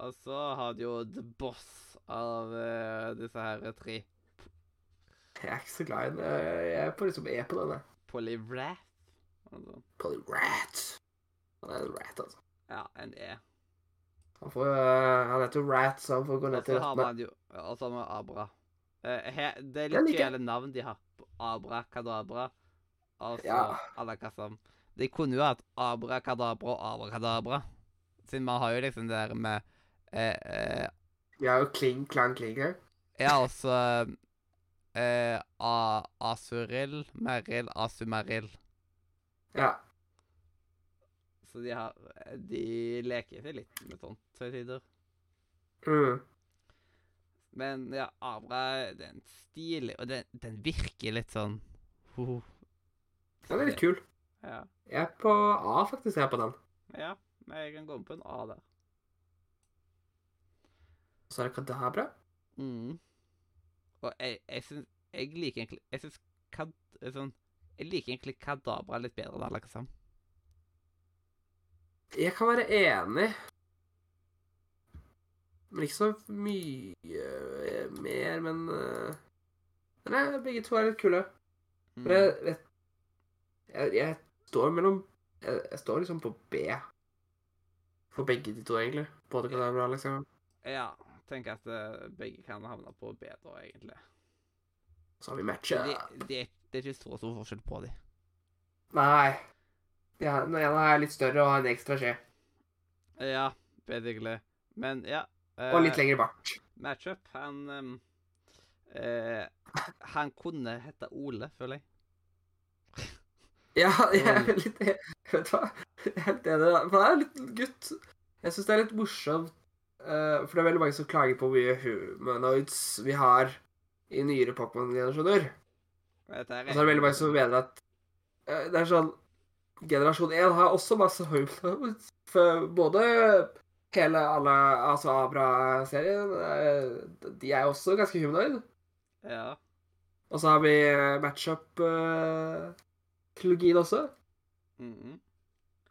S1: Og så har du jo The Boss av eh, disse her tre.
S2: Jeg er ikke så glad i den. Jeg er på liksom E på denne.
S1: Polyrath. Altså,
S2: På en rat. Han er en rat, altså.
S1: ja, en E.
S2: Han, får, eh, han heter jo Rat, så han får gå
S1: Og
S2: ned til
S1: så har
S2: røttene.
S1: man jo Og så har man Abra. Eh, he, det er
S2: Den
S1: litt
S2: liker jeg.
S1: kjæle navn de har. Abra Kadabra. Og så
S2: Ja.
S1: Alakazam. De kunne jo hatt Abra Kadabra og Abra Kadabra. Siden man har jo liksom det der med eh, eh,
S2: Vi har jo Kling Klang Kling her.
S1: Ja, også eh, A- Asuril, Meril, Asumeril.
S2: Ja.
S1: Så de har De leker seg litt med sånt til tider.
S2: Mm.
S1: Men ja, Abra det er en stilig Og den, den virker litt sånn ho, ho.
S2: Den er litt kul.
S1: Ja.
S2: Jeg er på A, faktisk. Jeg er på den.
S1: ja. Men jeg kan gå med på en A der.
S2: Så er det Kadabra.
S1: Mm. Og jeg, jeg syns Jeg liker egentlig Jeg syns kad... Sånn Jeg liker egentlig Kadabra litt bedre enn Alakazam.
S2: Jeg kan være enig. Men ikke så mye eh, mer, men eh, Nei, begge to er litt kule.
S1: Mm.
S2: For jeg vet Jeg, jeg står mellom jeg, jeg står liksom på B. For begge de to, egentlig. Både Kadabra og Alexander.
S1: Ja. Tenker at eh, begge kan havne på B da, egentlig.
S2: Så har vi matcha.
S1: Men de- de er- Det er ikke så stor forskjell på de.
S2: Nei. Ja, den ene er litt større og har en ekstra skje.
S1: Ja, basically. Men ja.
S2: Og litt
S1: eh,
S2: lengre bart.
S1: matchup. Han ehm, Eh, han kunne hete Ole, føler jeg.
S2: Ja, jeg er litt e- Vet du hva? Jeg er helt enig. da. For det er litt gutt. Jeg syns det er litt morsomt. eh, for det er veldig mange som klager på hvor mye humanoids vi har i nyere Pokémon-generasjoner.
S1: Dette er
S2: Og så er Altså, det veldig mange som mener at eh, Det er sånn Generasjon 1 har også masse humanoids. For både hele alle Altså Abra-serien eh, De er jo også ganske humanoid.
S1: Ja.
S2: Og så har vi match-up-trilogien også.
S1: mhm.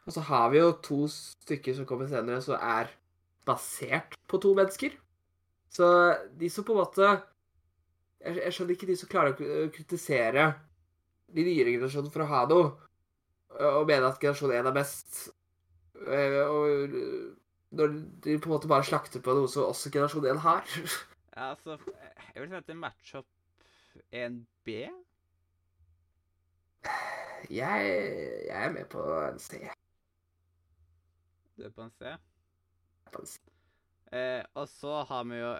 S2: Og så har vi jo to stykker som kommer senere, som er basert på to mennesker. Så de som på en måte Jeg, jeg skjønner ikke de som klarer å kri- å kritisere de nyere generasjonene for å ha noe, og mene at generasjon 1 er best. Eh, Og når de på en måte bare slakter på noe som også generasjon 1 har.
S1: ja. Altså, jeg vil si at en matchup 1B
S2: Jeg, jeg er med på en C.
S1: Du er på en C.
S2: på en C.
S1: Eh, og så har vi jo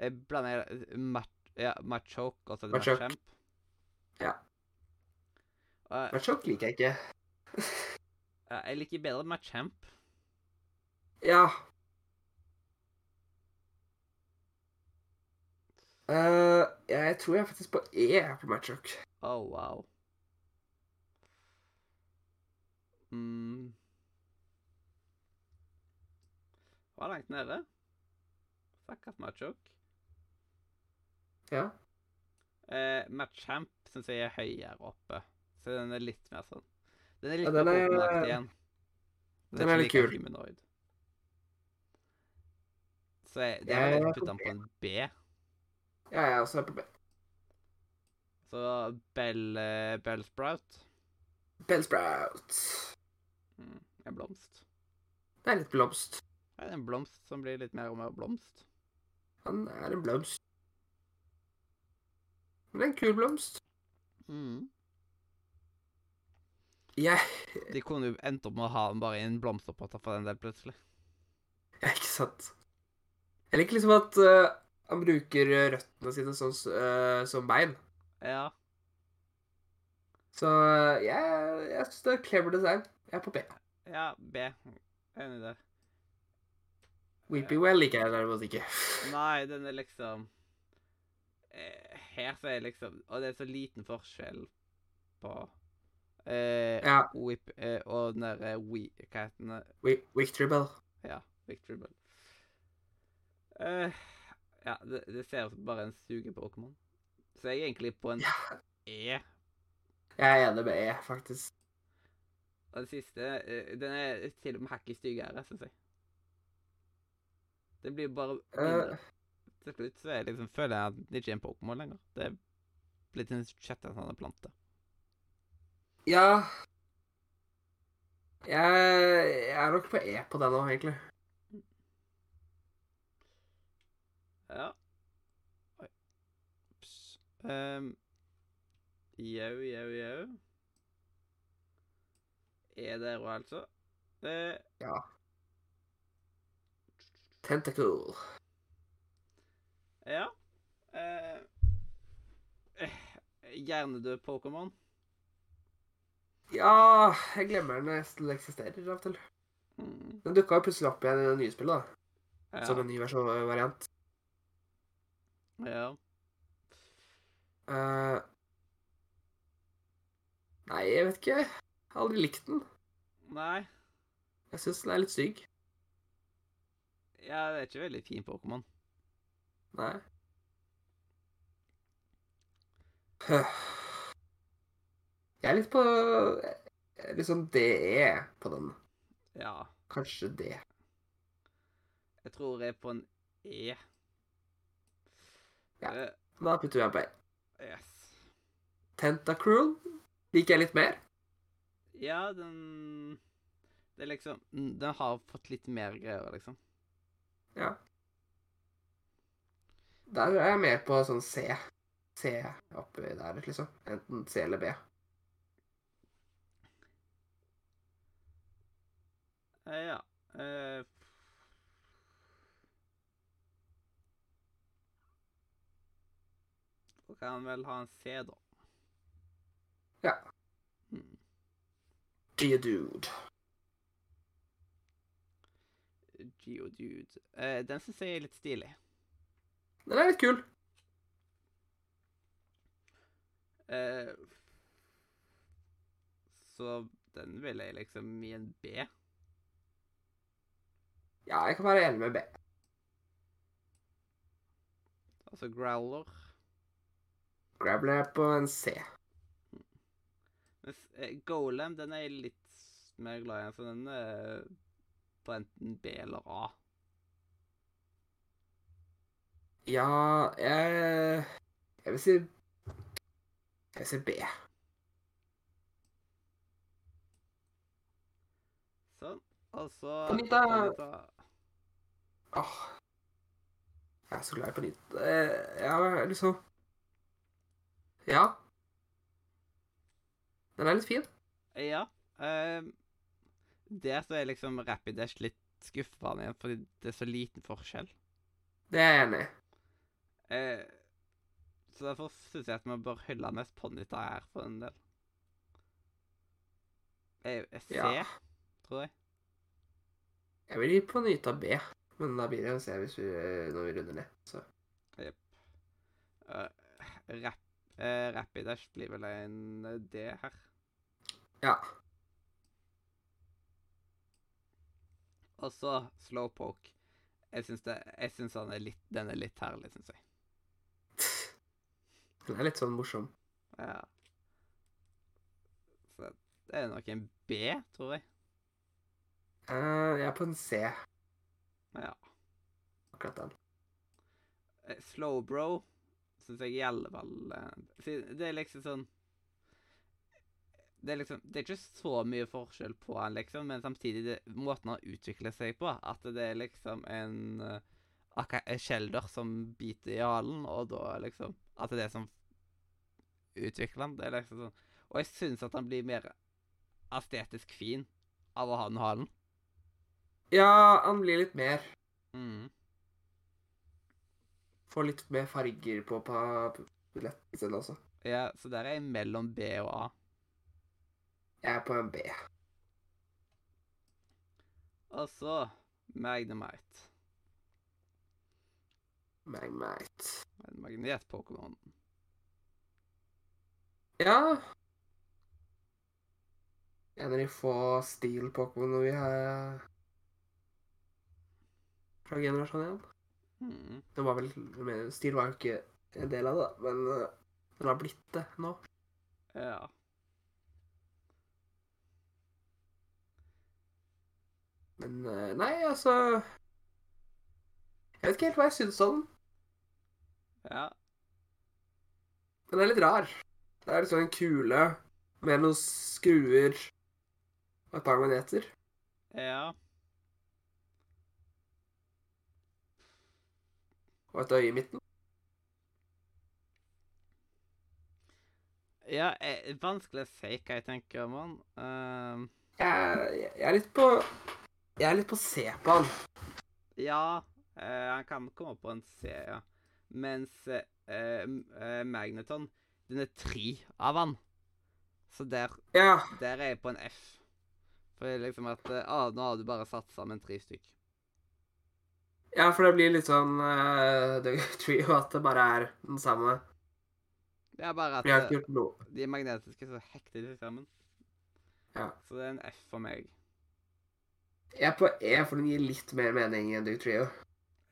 S1: Jeg blander eh, mat, ja, Machoke og så er det
S2: Machoke.
S1: Machamp.
S2: Ja.
S1: Og,
S2: Matchup liker jeg ikke.
S1: ja, jeg liker bedre Machamp.
S2: Ja. Eh, jeg tror jeg er faktisk på E på matchup.
S1: Oh, wow. Mm. Var langt nede. Stakkars Machoke.
S2: Ja.
S1: Eh, Machamp syns jeg er høyere oppe, så den er litt mer sånn Den er litt
S2: Ja, den
S1: mer
S2: er-
S1: åpenaktig igjen.
S2: den er litt
S1: ikke like
S2: kul.
S1: humanoid. Så jeg, det
S2: Jeg
S1: er
S2: er
S1: jeg
S2: på
S1: putta den på en B.
S2: Ja, jeg er også på B.
S1: Så Bell, eh, Bell Sprout
S2: Bell Sprout.
S1: mm, En blomst.
S2: Det er litt blomst.
S1: Det er en blomst som blir litt mer og mer blomst.
S2: Han er en blomst. Men det er en kul blomst.
S1: Mm.
S2: Jeg
S1: De kunne jo endt opp med å ha den bare i en blomsterpott for den del, plutselig.
S2: Ja, ikke sant. Jeg liker liksom at eh, han bruker røttene sine sånn s- eh, som bein.
S1: Ja.
S2: Så jeg, jeg syns det er clever design. Jeg er på B.
S1: Ja, B. Enig der.
S2: Weepy Well liker jeg derimot ikke.
S1: Nei, den er liksom eh, Her så er liksom Og det er så liten forskjell på eh,
S2: Ja.
S1: Whip eh, og den derre We... Hva heter den?
S2: Wi- Victory Bell.
S1: Ja, Victory Bell. Eh, ja, det, det ser ut som bare en suge-Pokémon. Så jeg er egentlig på en E.
S2: Jeg er enig med E, faktisk.
S1: Og det siste eh, Den er til og med hakket styggere, syns jeg. Det blir bare mindre.
S2: Eh,
S1: til slutt så er jeg liksom, føler jeg at det ikke er en Pokémon lenger. Det er blitt en sjette sånn plante.
S2: ja jeg, jeg er nok på E på den nå, egentlig.
S1: Ja. Oi. Ups. Ehm, Jau, jau, jau. Er der òg, altså. Eh,
S2: Tentacle.
S1: ja. Eh, eh, hjernedød Pokémon.
S2: Ja Jeg glemmer den nesten eksisterer av og til.
S1: Mm,
S2: Den dukka jo plutselig opp igjen i det nye spillet, da.
S1: ja.
S2: Som en ny versjon eh, variant.
S1: ja.
S2: Eh, nei, jeg vet ikke. Jeg har aldri likt den.
S1: Nei.
S2: Jeg syns den er litt stygg.
S1: Ja, det er ikke veldig fin Pokémon.
S2: Nei. Høh. Jeg er litt på jeg er Litt sånn DE på den.
S1: Ja.
S2: Kanskje det.
S1: Jeg tror jeg er på en E.
S2: Ja.
S1: Eh,
S2: Da putter vi den på E.
S1: yes.
S2: Tentacruel liker jeg litt mer.
S1: Ja, den Det er liksom mm, Den har fått litt mer greier, liksom.
S2: Der er jeg mer på sånn C. C oppi der, liksom. Enten C eller B.
S1: Eh, ja. Eh, kan han vel ha en C, da.
S2: Ja.
S1: Hmm.
S2: Geodude.
S1: Geodude. Eh, den syns jeg er litt stilig.
S2: Den er litt kul.
S1: Eh, så den ville jeg liksom gi en B.
S2: Ja, jeg kan være enig med B.
S1: Altså growler.
S2: Grabler på en C.
S1: Mens eh, Golem, den er jeg litt mer glad i, så den er på enten B eller A.
S2: Ja, jeg Jeg vil si Jeg vil si B.
S1: Sånn. Og så
S2: Anita!
S1: Anita.
S2: Åh. Jeg er så glad i på nytt. Eh, Ja, liksom Ja. Den er litt fin.
S1: Ja. ehm, der så er liksom Rapid Dash litt skuffende igjen, fordi det er så liten forskjell.
S2: Det er jeg enig i.
S1: Eh, så derfor syns jeg at vi bør hylle mest Ponnita her, for en del. Jeg, jeg ser,
S2: Ja.
S1: tror jeg.
S2: Jeg vil gi på nytt av B, men da blir det en C hvis vi, når vi runder ned. Så
S1: Eh, rap, eh, Rapid Dash blir vel en eh, D her.
S2: ja.
S1: Og så Slowpoke. Jeg syns det- jeg syns han er litt, den er litt herlig, syns jeg.
S2: Den er litt sånn morsom.
S1: Ja. Så det er nok en B, tror jeg.
S2: Eh, jeg er på en C,
S1: Ja.
S2: akkurat den.
S1: Eh, Slowbro syns jeg i alle fall eh, siden Det er liksom sånn det er liksom, det er ikke så mye forskjell på han, liksom, men samtidig det, måten han utvikler seg på. At det er liksom en eh, akka- en skjelder som biter i halen, og da liksom At det er det som utvikler han. Det er liksom sånn Og jeg syns at han blir mer estetisk fin av å ha den halen.
S2: Ja, han blir litt mer.
S1: Mm.
S2: Får litt mer farger på billetten også.
S1: Ja, så der er jeg mellom B og A.
S2: Jeg er på en B.
S1: Og så Magnemite.
S2: Magmite.
S1: En magnet-Pokémon.
S2: Ja En av de få steel-pokémonene vi har fra generasjon 1.
S1: Mm.
S2: Det var vel, men Steel var jo ikke en del av det, da, men eh, den har blitt det nå.
S1: Ja.
S2: Men eh, nei, altså Jeg vet ikke helt hva jeg syns om den.
S1: ja.
S2: Den er litt rar. Det er liksom en kule med noen skruer og et par magneter.
S1: Ja.
S2: Og et øye i midten.
S1: Ja, eh, vanskelig å si hva jeg tenker om han. Ehm,
S2: Jeg, jeg, jeg er litt på Jeg er litt på C på han.
S1: ja, eh, han kan komme på en C, ja. Mens eh, eh, m- eh, Magneton, den er tre av han. Så der,
S2: Ja.
S1: der er jeg på en F. For det er liksom at eh, ah, nå har du bare satt sammen tre stykk.
S2: Ja, for det blir litt sånn eh, Det tror jo at det bare er den samme.
S1: Det er bare at
S2: Vi har
S1: eh,
S2: ikke gjort noe.
S1: de er magnetiske, så hekter de seg sammen.
S2: Ja.
S1: Så det er en F for meg.
S2: Jeg er på E, for den gir litt mer mening enn Duke Trio.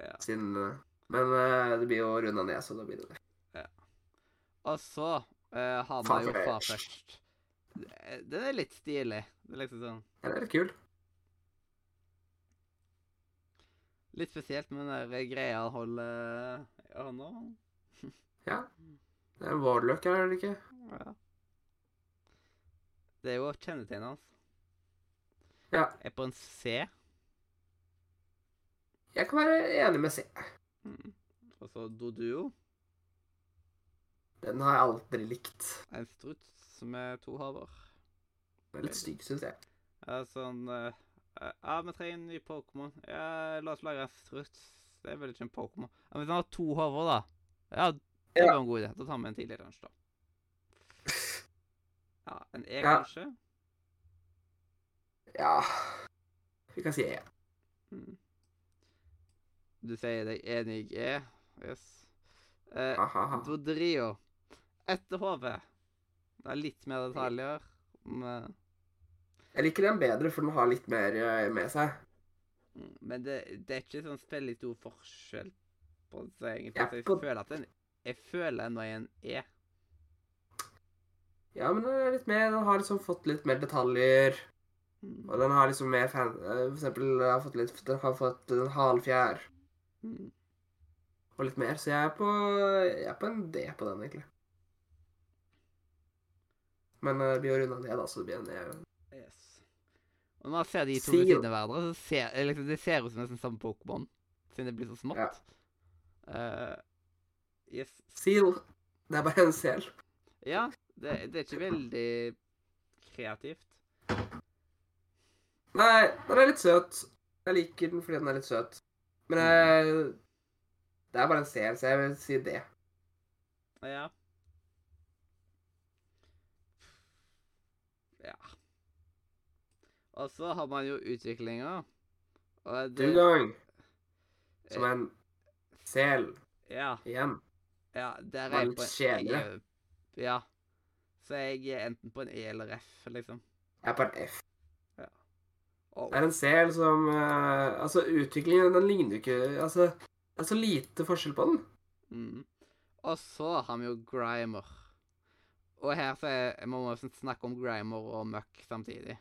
S1: Ja.
S2: Siden, eh, men eh, det blir jo runda ned, så da blir det det.
S1: Og så eh, har man jo
S2: Farfetch'd.
S1: Farfetch'd. Eh, Den er litt stilig. Det er liksom sånn
S2: Den er litt kul.
S1: Litt spesielt med den der greia han holder i hånda.
S2: Det er en Warlock her, er det ikke?
S1: Ja. Det er jo kjennetegnet hans.
S2: Ja.
S1: Er på en C.
S2: Jeg kan være enig med C.
S1: Mm. Og så Doduo.
S2: Den har jeg aldri likt.
S1: En struts med to hoder.
S2: Den er litt stygg, syns jeg.
S1: Ja, sånn eh, eh, Ja, vi trenger en ny Pokémon. Ja, la oss lage en struts. Det er vel ikke en Pokémon. Ja, Hvis han har to hoder, da. Ja, Det
S2: Ja.
S1: var en god idé. Da tar vi en tidlig lunsj, da. Ja, en E,
S2: Ja.
S1: kanskje?
S2: Ja Vi kan si E.
S1: Mm. Du sier deg enig i E? Yes. Eh,
S2: Ha-ha-ha.
S1: Dodrio. Etter HV. Det er litt mer detaljer. Men,
S2: Jeg liker den bedre, for den har litt mer eh, med seg.
S1: hmm, men det, det er ikke sånn veldig stor forskjell på det, egentlig.
S2: Ja,
S1: Så jeg
S2: på-
S1: føler at den Jeg føler ennå er en E.
S2: Ja, men den, er litt mer, den har liksom fått litt mer detaljer.
S1: Mm.
S2: Og den har liksom mer fan... eh, For eksempel den har fått litt, den har fått en halvfjær
S1: Mm.
S2: og litt mer. Så jeg er på, jeg er på en D på den, egentlig. Men eh, vi har runda ned, da, så det blir en E.
S1: Yes. Og når jeg ser de to
S2: Sier-
S1: ved siden av hverandre, så ser eh, liksom, det ser ut som nesten samme Pokémon, siden det blir så smått.
S2: Ja.
S1: Eh, yes.
S2: Seal. Det er bare en sel.
S1: Ja, det, det er ikke veldig kreativt.
S2: Nei, den er litt søt. Jeg liker den fordi den er litt søt. Men eh, det er bare en sel, så jeg vil si det.
S1: Ja. Ja. Og så har man jo utviklinga. Og det
S2: Dugong. Som er en sel.
S1: Ja.
S2: Igjen.
S1: ja der er
S2: Var
S1: jeg
S2: litt
S1: på en
S2: kjedelig.
S1: jeg er- Ja. Så jeg er enten på en E eller F, liksom.
S2: Jeg er på en F.
S1: Og
S2: Det er en sel som eh, Altså, utviklingen den ligner jo ikke Altså, det er så lite forskjell på den.
S1: Mm. Og så har vi jo Grimer. Og her så er, må vi sånn snakke om Grimer og Muck samtidig.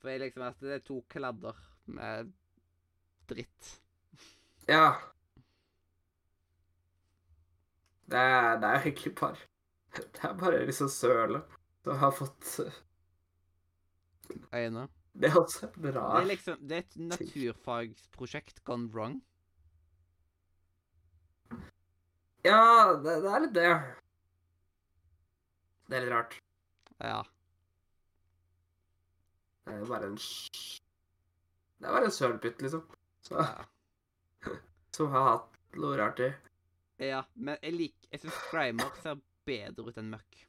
S1: For jeg liksom at det er to kladder med dritt.
S2: Ja. Det er, det er egentlig bare Det er bare liksom sølet som har fått
S1: Øyne.
S2: Det er også
S1: Det
S2: bra.
S1: er liksom Det er et naturfagsprosjekt gone wrong.
S2: Ja, det, det er litt det. Det er litt rart.
S1: Ja.
S2: Det er bare en sj- Det er bare en sølpytt, liksom. Så,
S1: ja.
S2: som har hatt noe rart i.
S1: ja. Men jeg liker Jeg syns Grimer ser bedre ut enn Muck.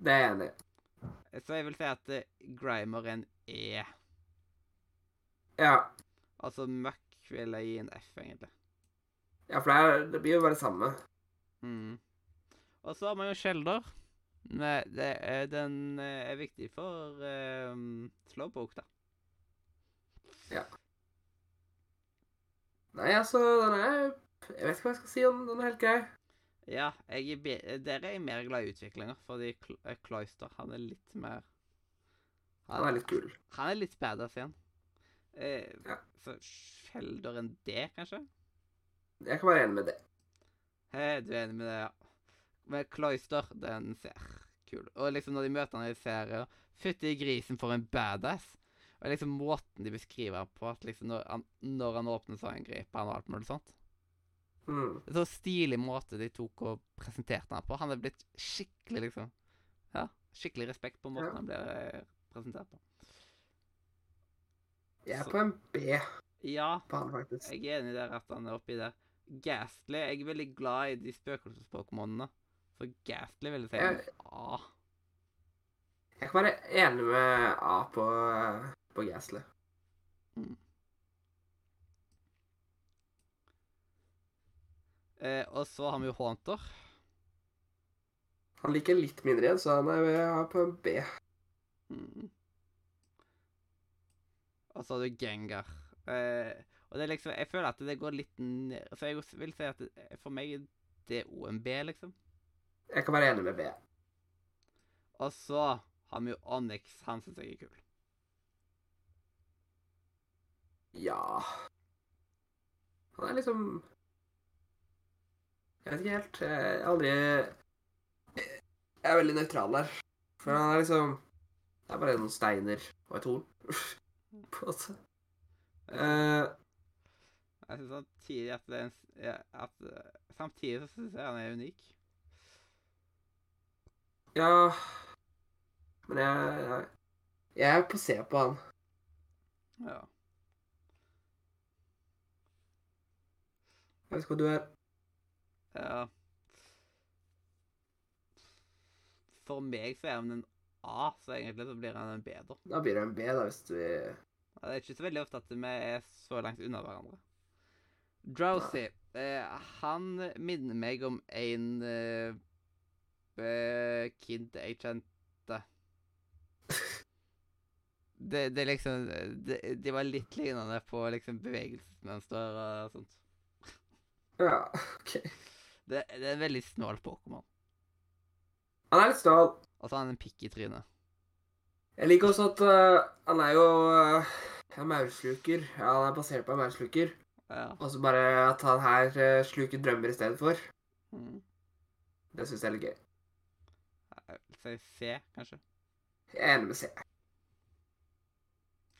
S2: Det er jeg enig i.
S1: Så jeg vil si at eh, Grimer er en E.
S2: Ja.
S1: Altså Muck vil jeg gi en F, egentlig.
S2: ja, for det, er, det blir jo bare det samme.
S1: Mm. Og så har man jo Shelder. Nei, det er, den eh, er viktig for eh, Slowpoke, da.
S2: Nei, altså, den er Jeg vet ikke hva jeg skal si om den. Den er helt grei.
S1: Ja, jeg er be der er jeg mer glad i utviklinger, fordi Cl eh, Cloyster, han er litt mer
S2: Den er litt kul.
S1: Han er litt badass igjen. Eh,
S2: Ja.
S1: Så Shelder en D, kanskje?
S2: Jeg kan være enig med det.
S1: Hei, du er enig med det, ja. Men Cloyster, den ser kul Og liksom når de møter han i serier Fytti grisen for en badass. Og liksom måten de beskriver han på, at liksom når han, når han åpner, så angriper han og alt mulig sånt.
S2: Mm.
S1: Det er så stilig måte de tok og presenterte han på. Han er blitt skikkelig, liksom Ja, skikkelig respekt på måten
S2: Ja.
S1: han blir eh, presentert på.
S2: Jeg er
S1: Så-
S2: på en B
S1: Ja,
S2: på han, faktisk.
S1: Jeg er enig der at han er oppi der. Ghastly Jeg er veldig glad i de spøkelsespokémonene. Så Ghastly vil jeg si er en A.
S2: Jeg kan være enig med A på, på Gasly.
S1: Eh, og så har vi jo Haunter.
S2: Han liker litt mindre igjen, så han er jeg er på en B.
S1: Mm. Og så har du Gengar. Eh, og det er liksom Jeg føler at det går litt ned Så jeg vil si at det, for meg er det òg en B, liksom.
S2: Jeg kan være enig med B.
S1: Og så har vi jo Onyx. Han syns jeg er kul.
S2: Ja Han er liksom Jeg vet ikke helt. eh, Jeg er aldri Jeg er veldig nøytral der. For han er liksom Det er bare noen steiner og et horn. På en måte. Eh,
S1: Jeg synes samtidig at, det er en, s- ja, at eh, Samtidig så syns jeg han er unik.
S2: ja Men jeg, jeg Jeg er på C på han.
S1: Ja.
S2: Jeg vet ikke hva du er.
S1: Ja. for meg så er han en A, så egentlig så blir han en B, da.
S2: Da blir det en B, da, hvis vi
S1: Ja, Det er ikke så veldig ofte at vi er så langt unna hverandre. Drowsy. Eh, han minner meg om en eh, eh, kid jeg kjente. Det, det er liksom det, De var litt lignende på liksom bevegelsesmønster og sånt.
S2: Ja, OK.
S1: Det, det er en veldig snål Pokémon.
S2: Han er litt snål.
S1: Og så har han en pikk i trynet.
S2: Jeg liker også at øh, han er jo øh, en maursluker. Ja, han er basert på en maursluker.
S1: Ja.
S2: Og så bare at han her øh, sluker drømmer i stedet for.
S1: Mm.
S2: Det syns jeg er litt gøy.
S1: Så C, kanskje.
S2: Jeg er enig med C.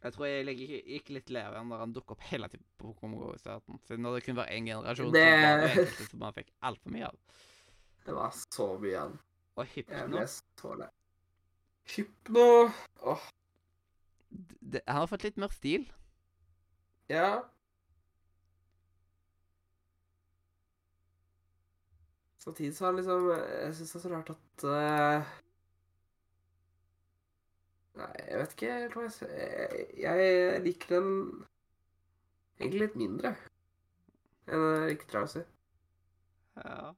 S1: Jeg tror jeg ligger- gikk litt lei av han når han dukket opp hele tiden på Pokémon GO i starten. Siden når det kun var én generasjon
S2: Det-
S1: som var den eneste som man fikk altfor mye av.
S2: Det var så mye han
S1: Og
S2: Jeg
S1: Hypno
S2: ble så lei. Hypno Åh,
S1: d- det, Han har fått litt mer stil.
S2: ja. Samtidig så er han liksom Jeg syns det er så rart at øh, Nei, jeg vet ikke helt hva jeg skal jeg, jeg liker den egentlig litt mindre enn jeg liker Trouser.
S1: Ja.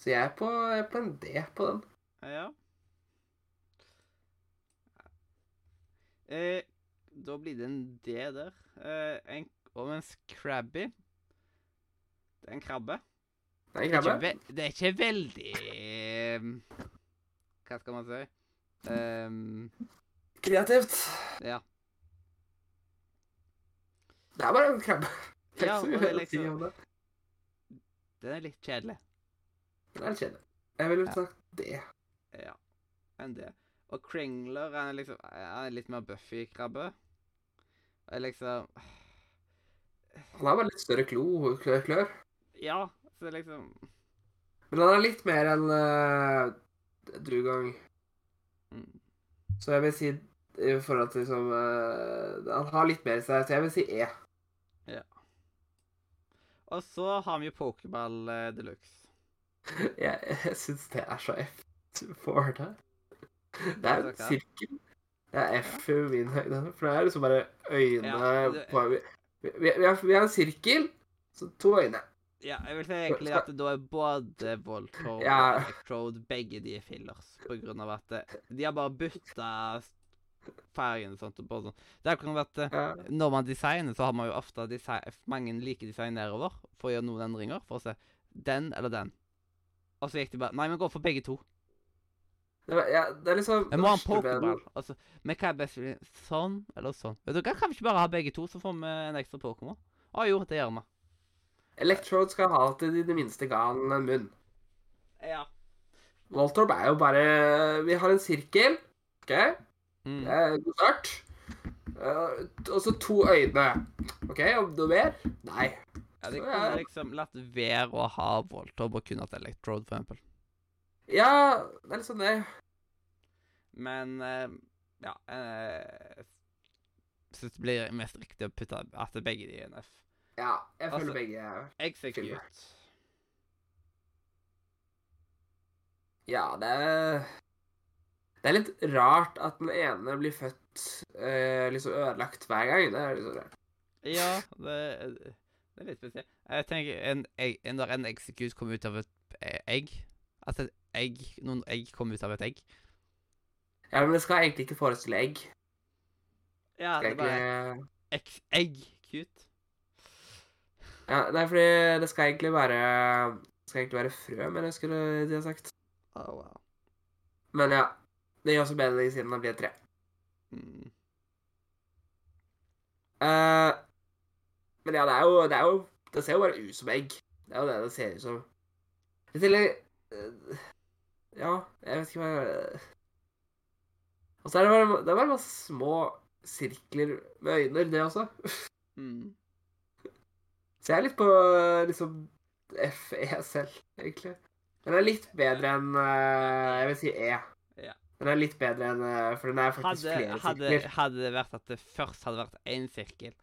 S2: Så jeg er, på, jeg er på en D på den.
S1: ja. Eh, da blir det en D der. Eh, en, og mens Krabby Det er en krabbe.
S2: Nei,
S1: Det er
S2: krabbe.
S1: ikke, ve det er ikke veldig ehm, Hva skal man si? Ehm,
S2: Kreativt.
S1: ja.
S2: Det er bare en krabbe. Det er
S1: Ja,
S2: ikke så mye
S1: og det er
S2: å si
S1: liksom-
S2: om det.
S1: Den er litt kjedelig.
S2: Det er litt kjedelig. Jeg ville
S1: Ja.
S2: sagt det.
S1: Ja, enn det. Og Kringler han er liksom han er litt mer Buffy-krabbe. Og liksom
S2: Han har bare litt større klo og klør, klør.
S1: Ja, så liksom
S2: Men han er litt mer enn eh, Dugong.
S1: mm,
S2: Så jeg vil si i forhold til liksom eh, Han har litt mer i seg, så jeg vil si E.
S1: Og så har vi jo Pokéball eh, Deluxe.
S2: Jeg, jeg syns det er så F for det. Det er en
S1: Ok.
S2: sirkel. Det er F i min høyde. For det er liksom bare øyne
S1: Ja, det-
S2: på vi, vi, vi, har, vi har en sirkel, så to øyne.
S1: Ja, jeg vil si egentlig at da er både Voltorb
S2: Ja.
S1: og Electrode begge de er fillers, på grunn av at eh, de har bare bytta fargen og sånt. og bare sånn. Det er akkurat som at eh,
S2: Ja.
S1: når man designer, så har man jo ofte desi- mange like design nedover for å gjøre noen endringer. For å se den eller den. Og så gikk de bare Nei, vi går for begge to.
S2: Det, er- ja, det er liksom
S1: Vi må ha en
S2: norske med-
S1: pokerball. Altså, men hva er best for deg? Sånn eller sånn? Vet du hva, kan vi ikke bare ha begge to, så får vi en ekstra Pokémon? Å jo, det gjør vi.
S2: Electrode skal ha til de- det minste ga han en munn.
S1: Ja.
S2: Voltorb er jo bare Vi har en sirkel. OK?
S1: Mm.
S2: Det er god start. Eh, og så to øyne. OK, om noe mer? Nei.
S1: Ja, de
S2: Så
S1: kunne
S2: er-
S1: liksom latt være å ha Voltorb og kun hatt Electrode, for eksempel.
S2: Ja, det er liksom det.
S1: Men eh, ja eh, Syns det blir mest riktig å putte at begge de er en F.
S2: Ja, jeg føler
S1: Altså-
S2: begge
S1: Execute.
S2: Filmer. Ja, det er Det er litt rart at den ene blir født eh, liksom ødelagt hver gang. Det er liksom rart.
S1: Ja, det, det er litt spesielt. Jeg tenker en, egg- en, Når en execute kommer ut av et eh, egg At et egg, noen egg kommer ut av et egg
S2: Ja, men det skal egentlig ikke forestille egg.
S1: Ja, det
S2: Skal
S1: er bare
S2: egentlig...
S1: ex, egg. Cute.
S2: ja, nei, fordi det skal egentlig være Det skal egentlig være frø, men jeg skulle de ha sagt.
S1: Oh, wow.
S2: Men ja. Det gir også bedre siden det blir et tre.
S1: Mm.
S2: Eh, men ja, det er, jo, det er jo Det ser jo bare ut som egg. Det er jo det det ser ut som. I tillegg eh, Ja, jeg vet ikke hva jeg Og så er det bare, det er bare masse små sirkler med øyne, det også.
S1: Mm.
S2: Så jeg er litt på liksom FE selv, egentlig. Den er litt bedre enn eh, Jeg vil si E.
S1: Ja.
S2: Den er litt bedre enn eh, For den er faktisk
S1: Hadde,
S2: flere
S1: hadde,
S2: sirkler.
S1: hadde det vært at det først hadde vært én sirkel,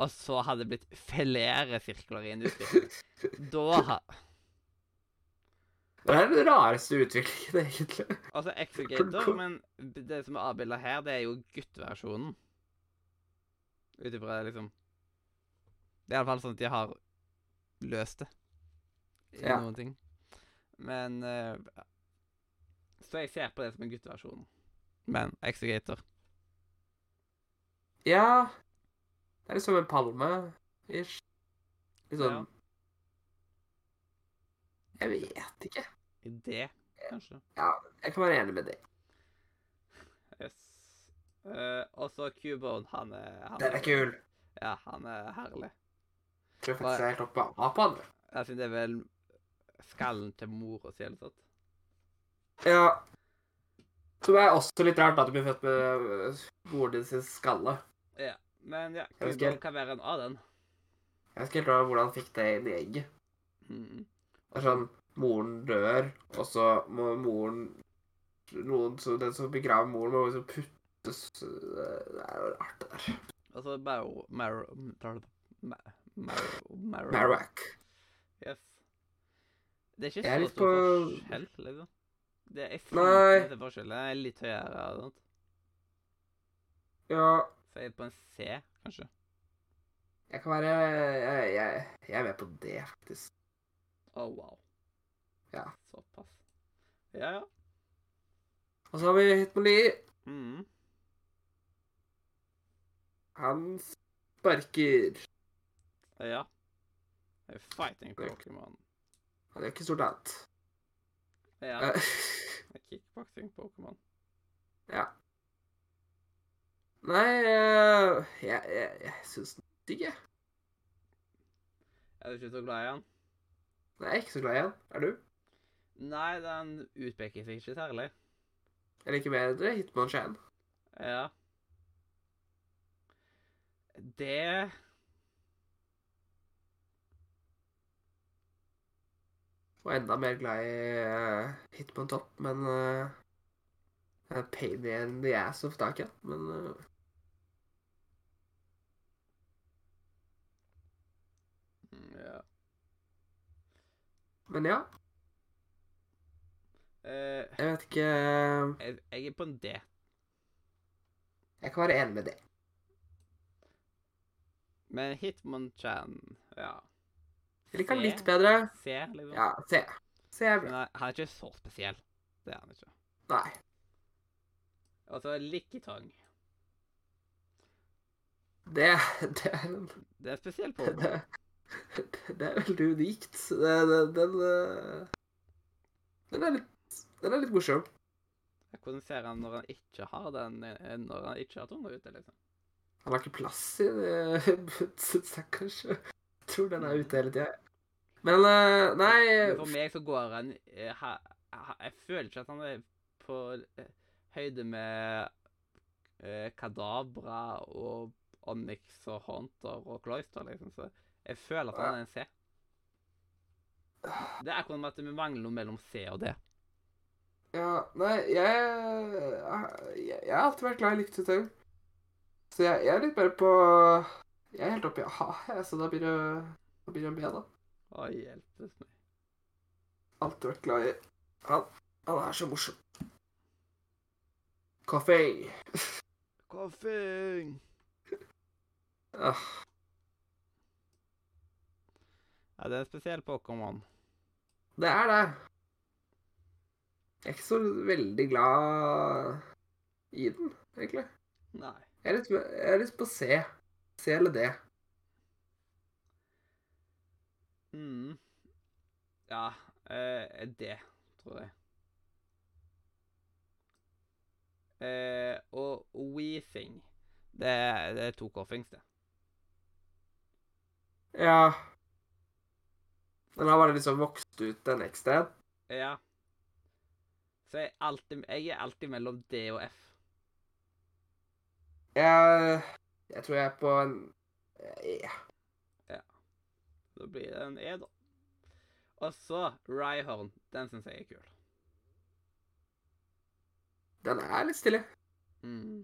S1: og så hadde det blitt flere sirkler i en utvikling, da ha...
S2: Det er den rareste utviklingen, egentlig.
S1: Altså Exegator, men b- det som er avbilda her, det er jo guttversjonen. Ut ifra liksom Det er iallfall sånn at de har løst det i
S2: Ja.
S1: noen ting. Men eh, Så jeg ser på det som en gutteversjon. Men Exegator
S2: Ja Det er liksom en palme-ish. Litt
S1: Ja.
S2: sånn Jeg vet ikke.
S1: i det, kanskje.
S2: Jeg kan være enig med det.
S1: Yes. Eh, og så Cubone, han er han
S2: Den er kul.
S1: Ja, han er herlig.
S2: Jeg tror faktisk jeg er helt oppe på A på han.
S1: Jeg synes det er vel skallen til mora si, eller noe sånt.
S2: Ja. Som er også litt rart, at du blir født med øh, moren din sin skalle.
S1: Men ja,
S2: husker-
S1: Cubone kan være en av den.
S2: Jeg husker helt rart hvordan han fikk det inn i egget.
S1: Mm.
S2: Det er sånn Moren dør, og så må moren noen, så Den som begraver moren, må liksom puttes øh, Det er jo rart, det der.
S1: Og så Marrow Marrow Marrow Marrow
S2: Marowak.
S1: Yes. Det er ikke
S2: Jeg er
S1: så
S2: litt
S1: stor
S2: på-
S1: forskjell, liksom. Det er ikke
S2: Nei.
S1: litt forskjell. Den er litt høyere og sånt.
S2: Ja,
S1: Så jeg er på en C, kanskje.
S2: jeg kan være Jeg, jeg, jeg er med på det, faktisk.
S1: Oh, wow.
S2: Ja.
S1: Såpass. Ja, ja.
S2: Og så har vi Hitmonlee.
S1: Mm.
S2: Han sparker.
S1: Ja. Det er Fighting Pokémon.
S2: Han gjør ikke stort annet.
S1: Ja.
S2: Eh,
S1: det er Kickboxing Pokémon.
S2: Nei, eh, jeg, jeg, jeg syns den er digg, jeg.
S1: Er du ikke så glad i han?
S2: Nei, jeg er ikke så glad i han. Er du?
S1: Nei, den utpeker seg ikke særlig.
S2: Jeg liker bedre Hitmonchan.
S1: Ja. Det
S2: Og enda mer glad i eh, Hitmontop, men eh, det er en Pain in the ass of Daken. Men eh,
S1: Ja.
S2: Men ja,
S1: Eh,
S2: jeg vet ikke eh,
S1: jeg, jeg er på en D.
S2: Jeg kan være enig med det.
S1: Men Hitmonchan ja.
S2: Jeg liker han
S1: C.
S2: litt bedre.
S1: C, liksom.
S2: Ja, se. Se er
S1: Men
S2: bra.
S1: han han er ikke så spesiell. Det er han ikke. Altså,
S2: Nei.
S1: Og så Likkitang.
S2: Det, det, er, en-
S1: Det er spesiell på
S2: det, det er veldig unikt. Det, det, den eh, Den er litt Den er litt morsom.
S1: Hvordan ser han når han ikke har den eh, Når han ikke har tunga ute, liksom?
S2: Han har ikke plass i det, syns jeg kanskje. Jeg tror den er ute hele tida. Men eh,
S1: Men For
S2: nei
S1: meg så går han eh, ha, ha, Jeg føler ikke at han er på eh, høyde med eh, Kadabra og Onyx og Hunter og Cloister, liksom. Så jeg føler at han er en C. Det er akkurat som at vi mangler noe mellom C og D.
S2: ja, Nei, jeg Jeg, jeg har alltid vært glad i likt utøving. Så jeg, jeg er litt mer på Jeg er helt oppi A, jeg, så da blir det da blir det en B, da.
S1: Å, hjelpes meg.
S2: Alltid vært glad i Han, han er så morsom. Coffee.
S1: Koffing!
S2: Ah,
S1: Ja, det er en spesiell Pokémon.
S2: det er det. Jeg er ikke så veldig glad i den, egentlig.
S1: Nei.
S2: Jeg er litt, jeg er litt på C. C eller D.
S1: Mm. Ja, eh, det tror jeg. Eh, og weefing. Det, er- det er to koffings, det.
S2: Ja. Den har bare liksom vokst ut en ekstra en.
S1: Ja. Så jeg er alltid, jeg er alltid mellom D og F.
S2: Jeg, jeg tror jeg er på en E.
S1: Da blir det en E, da. Og så Ryhorn. Den syns jeg er kul.
S2: Den er litt stille.
S1: Mm.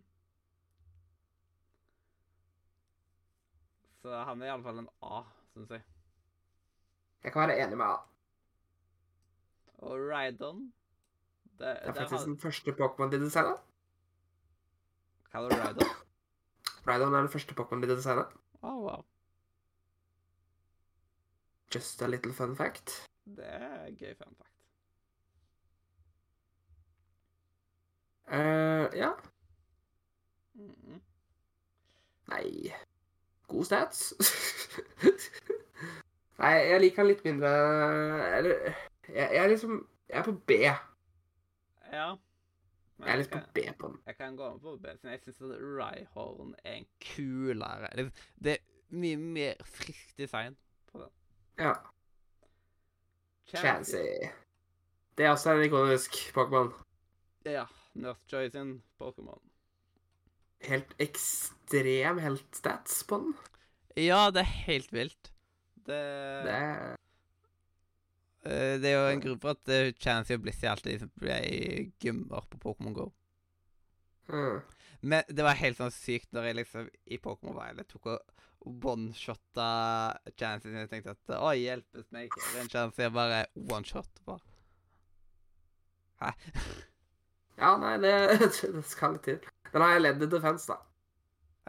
S1: Så han er iallfall en A, syns jeg.
S2: Jeg kan være enig med A.
S1: og Rhydon. Det,
S2: Det er
S1: der har,
S2: faktisk den første Pokémon de designa.
S1: hva er det Rhydon?
S2: Rydon er den første Pokémon de designa.
S1: Å, wow.
S2: Just a little fun fact.
S1: Det er gøy fun fact.
S2: eh ja.
S1: Mhm.
S2: Nei God stats. Nei, jeg liker han litt mindre Eller jeg, jeg er liksom Jeg er på B. Jeg
S1: Ja. Men
S2: er litt på
S1: jeg,
S2: B på den.
S1: jeg kan gå med på det, siden jeg syns Ryhorn er en kulere det, det er mye mer frisk design.
S2: Ja. Chancy. Det er også en ikonisk Pokémon.
S1: Ja. Nurse Joy sin Pokémon.
S2: Helt ekstrem heltstats på den.
S1: Ja, det er helt vilt. Det,
S2: Det er
S1: Eh, det er jo en grunn for at eh, Chansey og Blissey alltid liksom ble gymmer på Pokémon GO.
S2: mm.
S1: Men det var helt sånn sykt når jeg liksom i Pokémon Violet tok og one-shotta Chansey og jeg tenkte at Oi, hjelpes meg, her er en Chansey. Jeg bare one-shot. bare. Hæ?
S2: Ja, nei, det, det skal litt til. Den har elendig defense, da.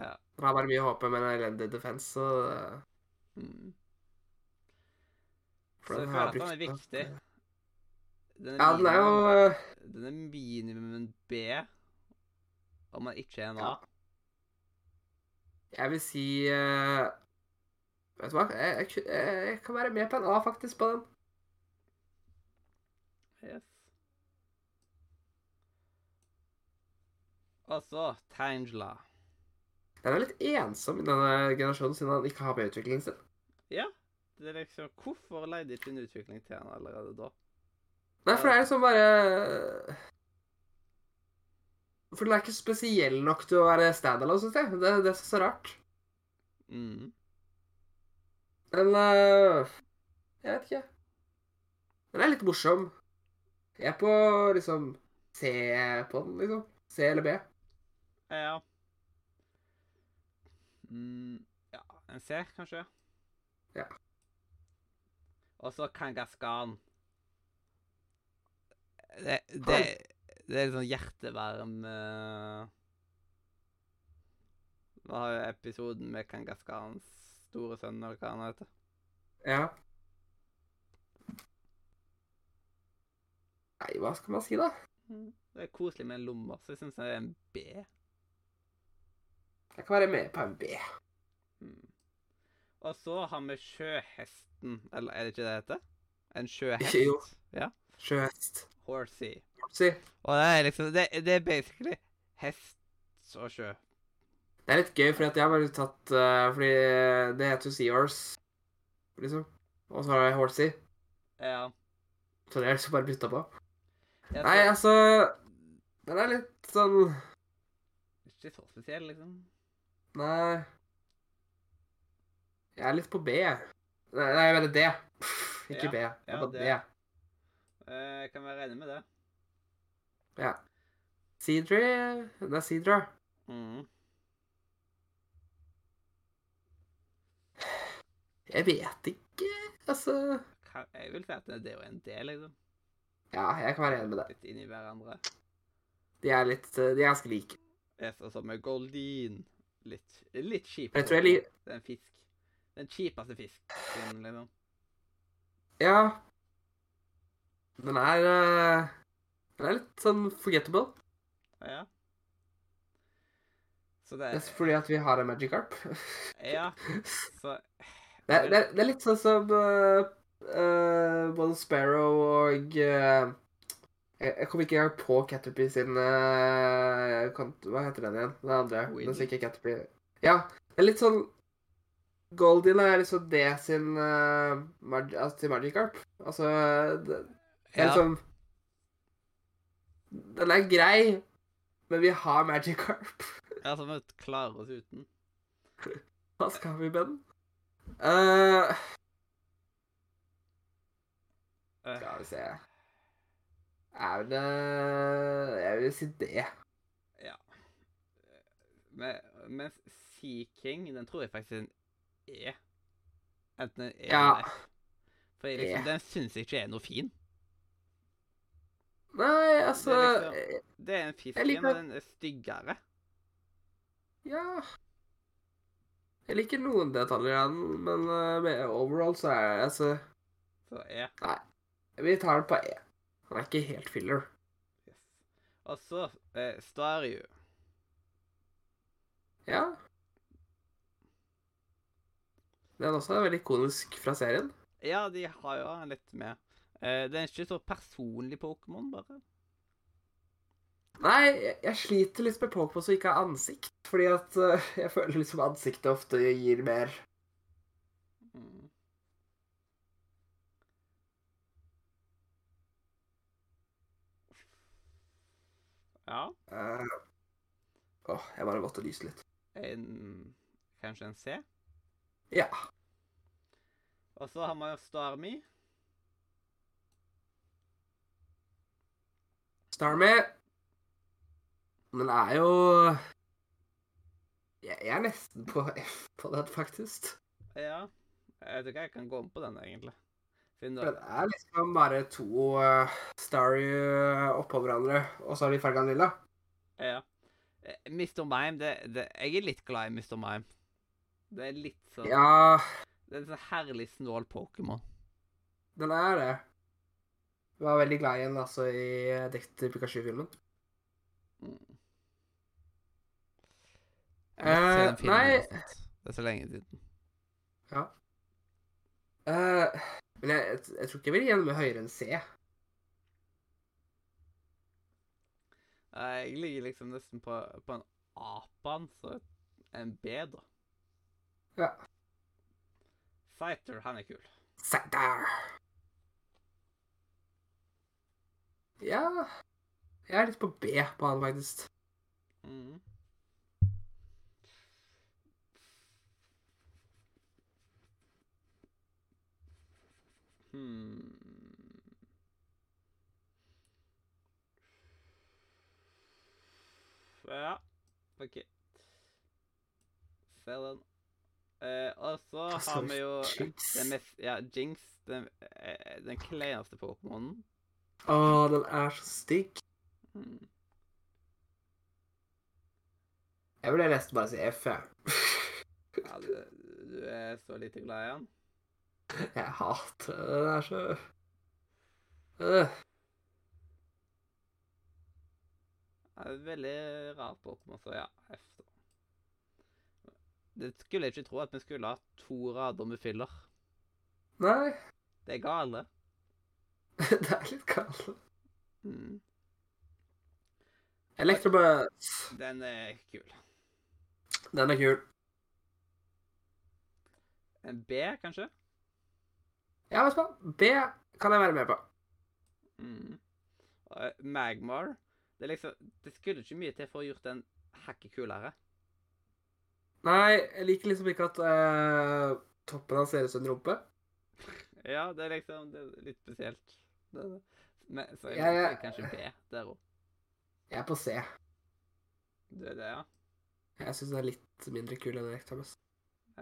S1: Ja.
S2: Den har bare mye håp, men elendig defense, så eh,
S1: Mm.
S2: For
S1: Så jeg
S2: den
S1: føler
S2: har
S1: at den er
S2: brukt-
S1: viktig. Den
S2: Ja, den er jo
S1: minimum-
S2: eh,
S1: Den er minimum en B, om man ikke er en A.
S2: Ja. Jeg vil si eh, Vet du hva? Jeg, jeg, ku- jeg, jeg kan være med på en A, faktisk, på den.
S1: Yes. Og så Tangela.
S2: Den er litt ensom i denne generasjonen, siden han ikke har med utviklingen sin.
S1: Det er liksom, Hvorfor leide ikke en utvikling til han allerede da?
S2: Nei, for det er liksom bare eh, For den er ikke spesiell nok til å være standalone, syns jeg. Det, det er så rart.
S1: Mm.
S2: Men eh, Jeg vet ikke. Den er litt morsom. Jeg er på liksom C på den, liksom. C eller B.
S1: Ja. Mm, ja, en C, kanskje?
S2: Ja.
S1: Og så Kangaskan. Det, det, det er litt sånn hjertevarm eh, Vi har jo episoden med Kangaskans store sønn, eller hva han heter.
S2: Ja. Nei, hva skal man si, da?
S1: Det er koselig med en lomme, så jeg syns det er en B.
S2: Jeg kan være med på en B.
S1: Mm. Og så har vi sjøhesten, eller er det ikke det det heter? En sjøhest?
S2: Jo.
S1: Ja.
S2: Sjøhest.
S1: Horsey.
S2: Si.
S1: Og det er liksom Det, det er basically hest og sjø.
S2: Det er litt gøy, fordi at jeg har bare tatt eh, Fordi det heter jo Seahorse, liksom. Og så har jeg Horsey.
S1: Ja.
S2: Så det er liksom bare bytta på.
S1: Jeg
S2: Nei,
S1: tror-
S2: altså Den er litt sånn
S1: Ikke så spesiell, liksom.
S2: Nei Jeg er litt på B, jeg. Nei, nei, jeg mener D. Pff, Ikke
S1: Ja,
S2: B. Jeg
S1: ja,
S2: er på
S1: det.
S2: D.
S1: Eh, Jeg kan være enig med det.
S2: Seedry Det er Seedra.
S1: Mhm.
S2: Jeg vet ikke, altså
S1: Kan- Jeg vil si at det er jo en del, liksom.
S2: Ja, jeg kan være enig med det.
S1: Litt inn i hverandre.
S2: De er litt eh, De er ganske like.
S1: Yes, og så med Goldin. Litt, litt kjip.
S2: Jeg tror jeg liker
S1: Det er en fisk. Den kjipeste fisken, liksom.
S2: Ja. Den er eh, Den er litt sånn forgettable.
S1: Ja. Så det
S2: Det er fordi at vi har en Magic Carp.
S1: Ja, så
S2: Det, er- det, er- det er litt sånn som eh, eh, både Sparrow og eh, jeg, jeg kom ikke engang på Caterpie sin eh, kont- Hva heter den igjen? Den andre.
S1: Whitney.
S2: Den som ikke er Caterpie. Ja. Det er litt sånn Goldin er liksom det sin eh, mag, altså, til Magic Carp. Altså det, det er
S1: Ja.
S2: liksom Den er grei, men vi har Magic Carp.
S1: Ja, så må vi klare oss uten.
S2: Hva skal vi med den? Eh,
S1: Eh,
S2: Skal vi se Er det Jeg vil si det.
S1: men- Mens Sea King, den tror jeg faktisk er en E. Enten en E
S2: Ja.
S1: eller en F. For jeg, liksom,
S2: E.
S1: den syns jeg ikke er noe fin.
S2: Nei, altså
S1: Det Det er en fisk
S2: Jeg liker-
S1: igjen, og den er styggere.
S2: Ja Jeg liker noen detaljer av den, men eh, med overall så er jeg altså
S1: Så er
S2: Vi tar den på E. Han er ikke helt filler.
S1: yes. Og så eh, Staryu.
S2: Ja. Den også er veldig ikonisk fra serien.
S1: Ja, de har jo han litt med. Eh, det er ikke så personlig Pokémon, bare.
S2: Nei, jeg, jeg sliter litt med Pokémon som ikke har ansikt. Fordi at eh, jeg føler liksom ansiktet ofte gir mer.
S1: Mm. Ja.
S2: eh, Åh, jeg bare måtte lyse litt.
S1: En, kanskje en C.
S2: Ja.
S1: Og så har man jo Starmie.
S2: Starmie Den er jo jeg, jeg er nesten på F på den, faktisk.
S1: Ja. Jeg tror ikke jeg kan gå om på den, egentlig. Siden
S2: For
S1: du,
S2: Den er liksom bare to eh, Starry eh, oppå hverandre, og så har de farga den lilla.
S1: ja. Eh, Mr. Mime, det, det, jeg er litt glad i Mr. Mime. Det er litt sånn
S2: Ja,
S1: Det er en sånn herlig snål Pokémon.
S2: den er det. Jeg var veldig glad i den altså, i eh, Dekter Pikachu-filmen.
S1: Mm. Jeg må se
S2: Eh,
S1: den filmen
S2: nei
S1: nesten. Det er så lenge siden.
S2: eh, Men jeg, jeg, jeg tror ikke jeg vil gi den med høyere enn C.
S1: Nei, Jeg ligger liksom nesten på, på en apan, så en B, da.
S2: Ja.
S1: Fighter, han er kul.
S2: Sett der. Ja Jeg er litt på B på han, faktisk.
S1: Mhm. Hmm. Ja, OK. Se den. Eh, og så
S2: Hva sa
S1: har
S2: du?
S1: vi jo
S2: Jinx.
S1: den mest Ja, Jinx. Den, eh, den kleineste Pokémonen.
S2: Å, den er så stygg.
S1: Mm.
S2: Jeg ville nesten bare si F, jeg.
S1: Ja, du, du er så lite glad i han.
S2: Jeg hater det. Den er så øh.
S1: Ja, det er veldig rart Pokémon, så ja. F, da. Det skulle jeg ikke tro at vi skulle ha to rader med filler.
S2: Nei,
S1: Det er gale.
S2: det er litt kaldt.
S1: Mm.
S2: Elektrobøt.
S1: Den er kul.
S2: Den er kul.
S1: En B, kanskje?
S2: Ja, vet du hva? B kan jeg være med på.
S1: Mm. Og, eh, Magmar. Det, er liksom, det skulle ikke mye til for å gjort den hakket kulere.
S2: Nei, jeg liker liksom ikke at eh, toppen hans ser ut som en rumpe.
S1: Ja, det er liksom det er litt spesielt. Det, er det. Men, så jeg
S2: Jeg-
S1: liker kanskje B der òg.
S2: Jeg er på C.
S1: Det er det, ja.
S2: Jeg syns den er litt mindre kul enn Elektrobøt.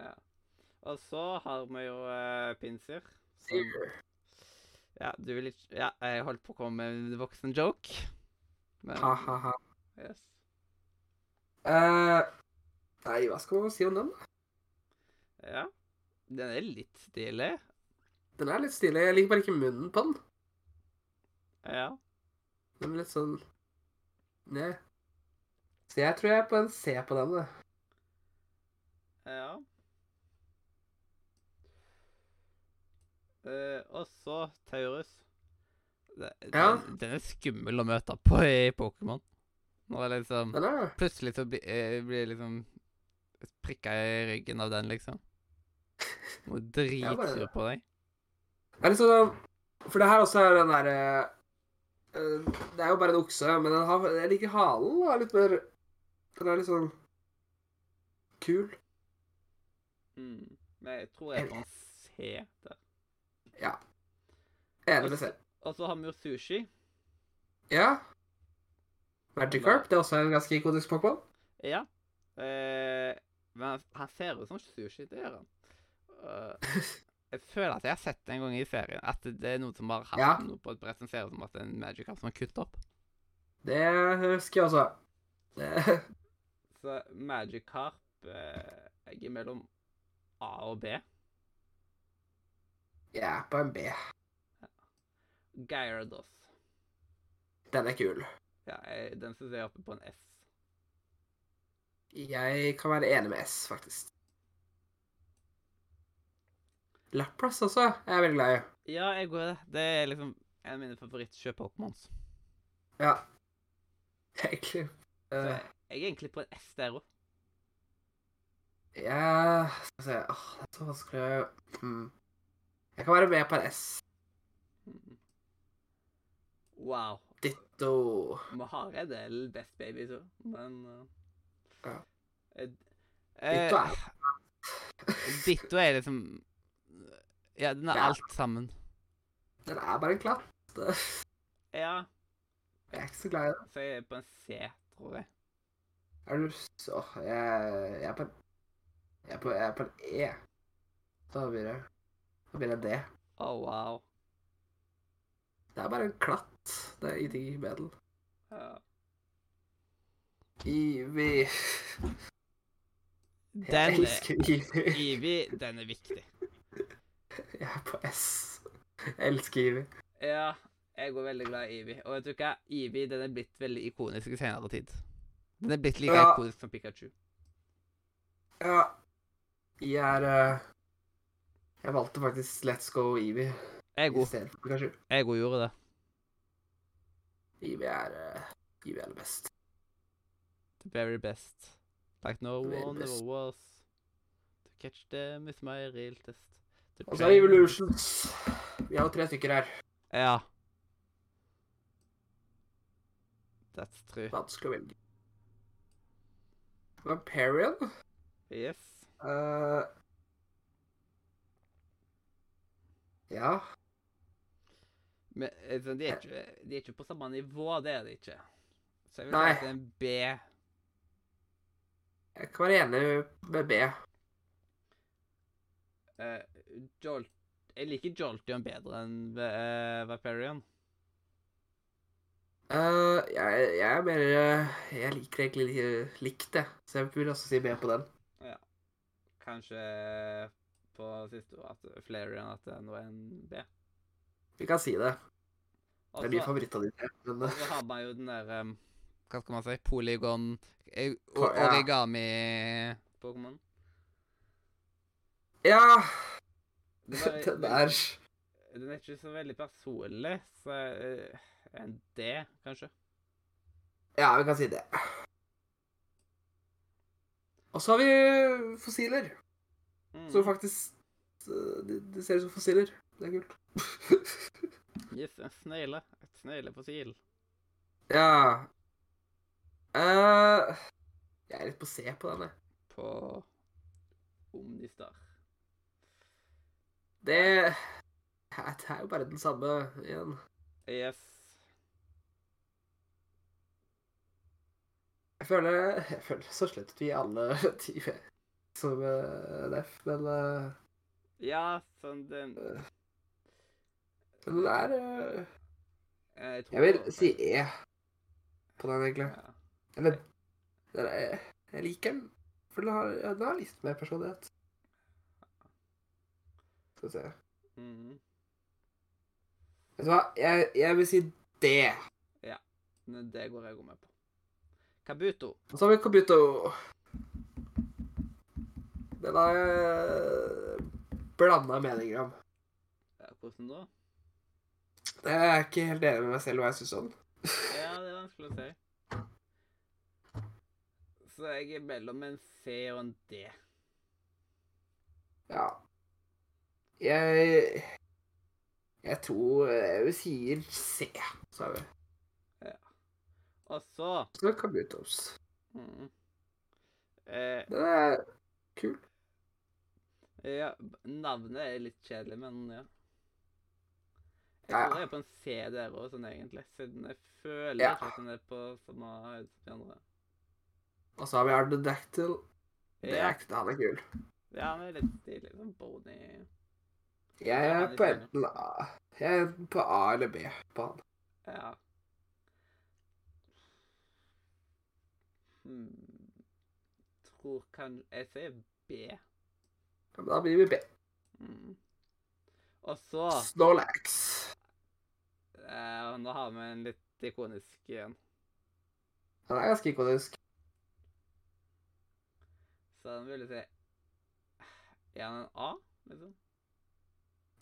S1: ja. Og så har vi jo eh, Pinsir. som-
S2: Sier.
S1: Ja, du vil ikke Ja, jeg holdt på å komme med en voksen joke. Men
S2: Ha, ha, ha.
S1: yes.
S2: Eh, nei, hva skal man si om den?
S1: Ja. Den er litt stilig.
S2: Den er litt stilig. Jeg liker bare ikke munnen på den.
S1: Ja.
S2: Den er litt sånn Nei. Så jeg tror jeg er på en C på den. da.
S1: Ja. Eh, og så Taurus. Det-
S2: Ja.
S1: Den, den er skummel å møte på i Pokémon. Når det liksom
S2: Den er det.
S1: Plutselig så blir eh, blir jeg liksom prikka i ryggen av den, liksom. Og dritsur på deg.
S2: Det er litt sånn For det her også er den derre Det er jo bare en okse, men den har, jeg liker halen. Den er litt mer Den er litt sånn kul.
S1: Mm. Men jeg tror jeg kan se det.
S2: Enig med selv.
S1: Og så har vi jo sushi.
S2: Ja. Magikarp, det er også en ganske ikonisk Pokémon.
S1: Ja. Eh, men han- han ser ut som sushi, det gjør han. Eh, Jeg føler at jeg har sett det en gang i serien. At det er noen som har hatt
S2: Ja.
S1: noe på et brett som ser ut som at det er en magic card som er kuttet opp.
S2: Det husker jeg også. Det,
S1: Så magic carp eh, Jeg er mellom A og B.
S2: jeg er på en B.
S1: Gyarados.
S2: Den er kul.
S1: Ja, jeg, den synes jeg er oppe på en S.
S2: Jeg kan være enig med S, faktisk. Lapras også er jeg veldig glad i.
S1: Ja, jeg går det. Det er liksom en av mine favorittkjøp-Pokémons.
S2: Ja. Egentlig.
S1: Så
S2: Eh,
S1: jeg jeg er egentlig på en S der òg.
S2: Ja Skal vi se Åh, det er så vanskelig å- hmm. Jeg kan være med på en S.
S1: Wow.
S2: Ditto.
S1: Vi har en del Best Babies òg, men eh,
S2: Ja.
S1: eh,
S2: Ditto er
S1: eh, Ditto er liksom eh, Ja, den er
S2: Ja.
S1: alt sammen.
S2: Den er bare en klatt. Det-
S1: Ja,
S2: Jeg er ikke så glad i den.
S1: så jeg er på en C, tror jeg.
S2: Er du så Åh, jeg, jeg er på en jeg er på, jeg er på en E. Da blir det Da blir det D.
S1: Oh, wow.
S2: Det er bare en klatt. Det er ingenting med den.
S1: Ja.
S2: Ivy. Jeg
S1: Den er
S2: elsker Ivy.
S1: Ivy, den er viktig.
S2: Jeg er på S. Jeg elsker Ivy.
S1: Ja, jeg går veldig glad i Ivy. Og vet du hva? Ivy den er blitt veldig ikonisk i senere tid. Den er blitt like
S2: Ja.
S1: ikonisk som Pikachu.
S2: Ja. Jeg er eh, Jeg valgte faktisk Let's Go Ivy
S1: Jeg
S2: i
S1: òg
S2: stedet for Pikachu.
S1: gjorde det.
S2: Ivy er eh, Ivy er det best.
S1: The very best. Like no
S2: Very
S1: one
S2: best.
S1: ever was. To catch them is my real test. To
S2: Og så
S1: train-
S2: er Evolutions. Vi har jo tre stykker her.
S1: Ja. That's true.
S2: Vanskelig å velge. Vampirion?
S1: Yes.
S2: Eh, ja.
S1: Men eh, sånn, de, er ikke, de er ikke på samme nivå, det er de ikke. Så jeg vil si
S2: Nei.
S1: at det er en B.
S2: Jeg kan være enig med B.
S1: Eh, Jolt Jeg liker Jolteon bedre enn uh, Viperion.
S2: Eh, jeg, jeg er mer eh, Jeg liker egentlig li- likt, jeg. Så jeg vil også si B på den.
S1: Kanskje på siste ord at Flareon at det nå er en B.
S2: Vi kan si det.
S1: Og
S2: Det er min
S1: så-
S2: favoritt av de tre. Men eh,
S1: Og så har man jo den der um, Hva skal man si? Polygon eh,
S2: Po-
S1: og
S2: ja.
S1: origami-pokémon.
S2: eh, ja
S1: Det var-
S2: Den er
S1: Den er ikke så veldig personlig, så eh, en D, kanskje.
S2: Ja, vi kan si det. Og så har vi fossiler.
S1: Mm.
S2: Som faktisk eh, de, de ser ut som fossiler. Det er kult.
S1: Yes, en snegle. Et sneglepossil.
S2: ja Eh, Jeg er litt på C på den, jeg.
S1: På Omnistar.
S2: Det, det er jo bare den samme igjen.
S1: Yes.
S2: Jeg føler, jeg føler så slett at vi alle ti som uh, Leff, men eh,
S1: Ja, sånn den
S2: men den er eh,
S1: eh, tror
S2: Jeg
S1: på-
S2: vil si E på den, egentlig.
S1: ja.
S2: Eller den er, eh, Jeg liker den. For den har, ja, den har litt mer personlighet. Skal vi se
S1: Mhm.
S2: Vet du hva, jeg, jeg vil si D.
S1: Men Det går jeg òg med på. Kabuto.
S2: Og så har vi Kabuto. Den har jeg blanda meninger om.
S1: Ja, Hvordan da?
S2: Jeg er ikke helt enig med meg selv hva jeg sånn. syns om den.
S1: Ja, det er vanskelig å si. Så jeg er mellom en C og en D.
S2: Ja. Jeg Jeg tror jeg sier C, sa vi.
S1: Og så
S2: Så er det Kabutos.
S1: mm, eh,
S2: Den er kul.
S1: ja, Navnet er litt kjedelig, men ja. Jeg
S2: Ja, ja.
S1: tror jeg er på en C der òg, sånn egentlig. Siden jeg føler
S2: Ja.
S1: ikke at den er på samme høyde som de andre.
S2: Og så har vi Ardodactyl. Det
S1: Ja,
S2: er ikke det, han er kul.
S1: ja, han er litt stilig. Sånn bony
S2: Jeg
S1: Ja,
S2: er
S1: litt
S2: på
S1: enig.
S2: enten A Jeg er på A eller B på han.
S1: Ja. Hmm. Tror kan Jeg sier B.
S2: Ja, men Da blir vi B.
S1: Mm. Og så
S2: Snorlax.
S1: eh, Nå har vi en litt ikonisk en.
S2: Han er ganske ikonisk.
S1: Så den ville si Er han en A, liksom?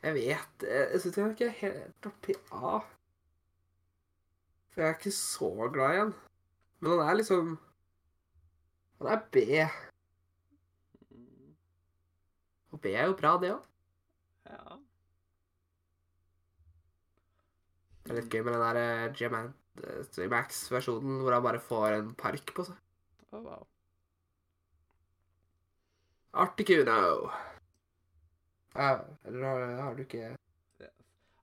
S2: Jeg vet eh, Jeg syns han ikke er helt oppi A. For jeg er ikke så glad i han. Men han er liksom Han er B.
S1: Mm.
S2: Og B er jo bra, det òg.
S1: Ja.
S2: Det er litt gøy med den der eh, Jamax-versjonen hvor han bare får en park på seg.
S1: Å, Mm, oh, wow.
S2: Articuno. Ja, eller har, har du ikke
S1: Yes.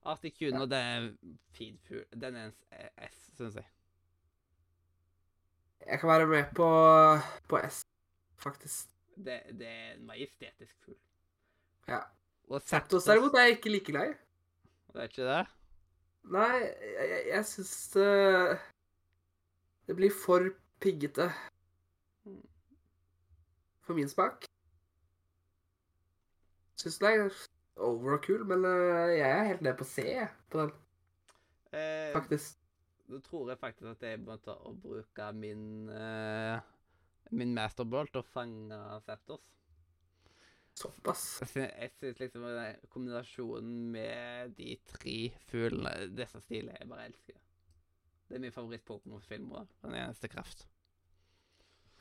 S1: Articuno, det er en fin fugl. Den er en s- eh, S, syns jeg.
S2: Jeg kan være med på, på S, faktisk.
S1: Det, det er en majestetisk fugl.
S2: Ja.
S1: Og
S2: Aptos derimot er jeg ikke like glad i.
S1: Det er ikke det?
S2: Nei, jeg, jeg, jeg syns det Det blir for piggete. For min smak. Syns den er overcool, men eh, jeg er helt ned på C jeg, på den,
S1: Eh,
S2: faktisk.
S1: Nå tror jeg faktisk at jeg måtte å bruke min eh, Min masterball til å fange Zapdos.
S2: Såpass.
S1: Jeg sy- Jeg syns liksom at den kombinasjonen med de tre fuglene Det er så stilig. Jeg bare elsker det. Det er min favoritt-Pokémon-film òg. Den eneste kraft.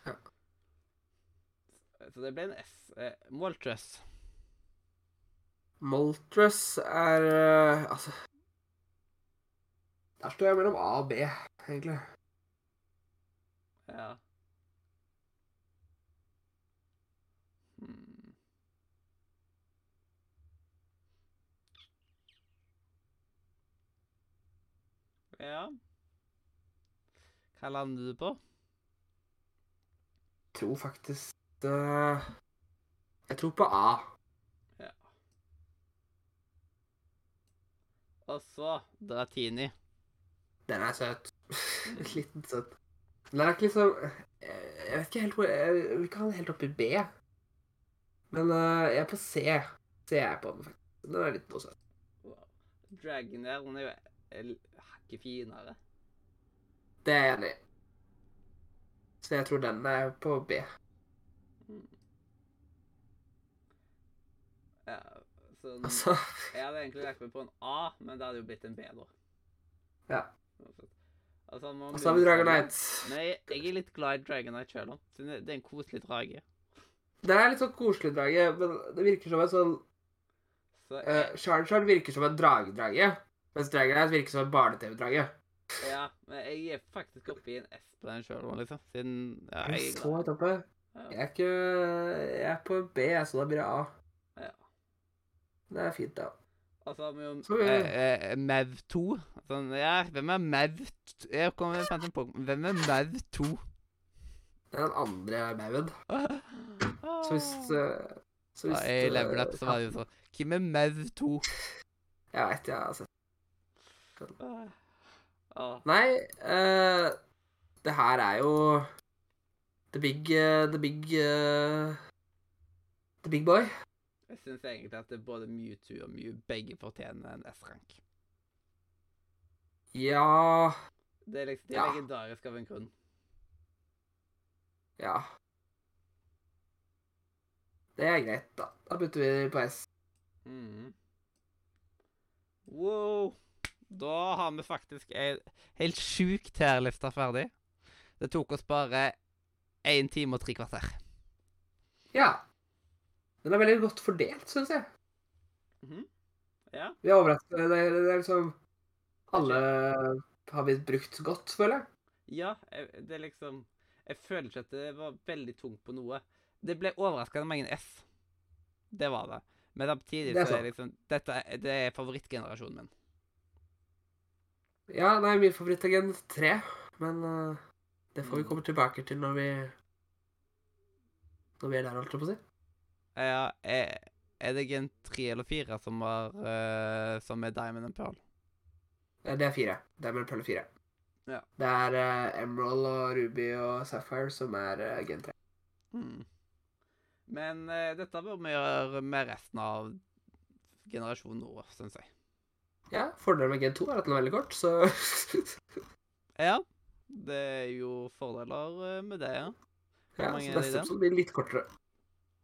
S2: Ja.
S1: Så det ble en S. Eh, Moltres.
S2: Moltres er eh, Altså Der står jeg mellom A og B, egentlig.
S1: Ja. Hmm. Ja Hva lander du på?
S2: tror faktisk eh, Jeg tror på A.
S1: Og så Dratini.
S2: Den er søt. Liten søt. Den er ikke liksom Jeg jeg vet ikke helt hvor Jeg vil ikke ha den helt oppi B. Men eh, jeg er på C. C er jeg på den, faktisk. Den er litt noe søt.
S1: Wow. Dragonair hun er jo el- hakket finere.
S2: Det er jeg enig i. Så jeg tror den er på B.
S1: Ja, så n-
S2: Altså
S1: jeg hadde egentlig lagt meg på en A, men det hadde jo blitt en B, da. Altså,
S2: Ja.
S1: Og så må
S2: Og så har vi Dragonite.
S1: Nei, jeg er litt glad i Dragonite sjøl òg. Det det er en koselig drage.
S2: Det er litt sånn koselig drage, men det virker som en sånn
S1: Så
S2: uh,
S1: jeg,
S2: Charger virker som en dragedrage, mens Dragonite virker som en barne-TV-drage.
S1: ja, men jeg er faktisk oppe i en S på den sjøl, liksom. Siden ja,
S2: Er
S1: jeg
S2: det
S1: er
S2: Så
S1: glad.
S2: høyt oppe. Jeg
S1: Ja.
S2: er ikke Jeg er på B, så da blir det A.
S1: Ja.
S2: Det er fint, da.
S1: Og så har vi jo
S2: Så,
S1: eh,
S2: ja.
S1: eh, Mev 2. Sånn, ja, hvem er Mev t- Jeg kom jeg fant en Pokémon. Hvem er Mev 2?
S2: Det er den andre baugen. Så hvis
S1: Ah.
S2: eh, Så
S1: Ja,
S2: hvis
S1: I
S2: eh,
S1: level up så var det jo sånn Hvem er Mev 2?
S2: Jeg veit, jeg har sett
S1: Ah. Ah.
S2: Nei, eh, det her er jo The big eh, The big eh, The big boy.
S1: Jeg syns egentlig at det er både Mewtwo og Mew begge fortjener en S-rank.
S2: Ja
S1: Det er liksom, De er
S2: Ja.
S1: legendariske av en grunn.
S2: Ja. Det er greit, da. Da putter vi på S.
S1: Mhm. Wow. Da har vi faktisk ei helt sjuk tærliste ferdig. Det tok oss bare én time og tre kvarter.
S2: Ja. Den er veldig godt fordelt, syns jeg.
S1: Mhm. Ja.
S2: Vi er overrasket. Det, er- det er liksom Alle har blitt brukt godt, føler jeg.
S1: Ja, jeg, det er liksom Jeg føler ikke at det var veldig tungt på noe. Det ble overraskende mange S. Det var det. Men samtidig
S2: Det er
S1: så er liksom Dette er, det er favorittgenerasjonen min.
S2: Ja, nei, min favoritt er Gen 3, men eh, det får vi komme tilbake til når vi Når vi er der, holdt jeg på å si.
S1: Ja, jeg, Er det ikke en tre eller fire som, var, eh, som er Diamond and Pearl?
S2: Eh, Det er fire. Det er mellom Pearl og fire.
S1: Ja.
S2: Det er eh, Emerald og Ruby og Sapphire som er uh, gen 3.
S1: Hmm. Men eh, dette bør vi gjøre med resten av generasjonen nå, syns jeg.
S2: Ja, Fordelen med gen 2 er at den er veldig kort, så
S1: Ja. Det er jo fordeler eh, med det, ja. Hvor
S2: ja,
S1: mange er det i
S2: så Neste
S1: den?
S2: episode blir litt kortere.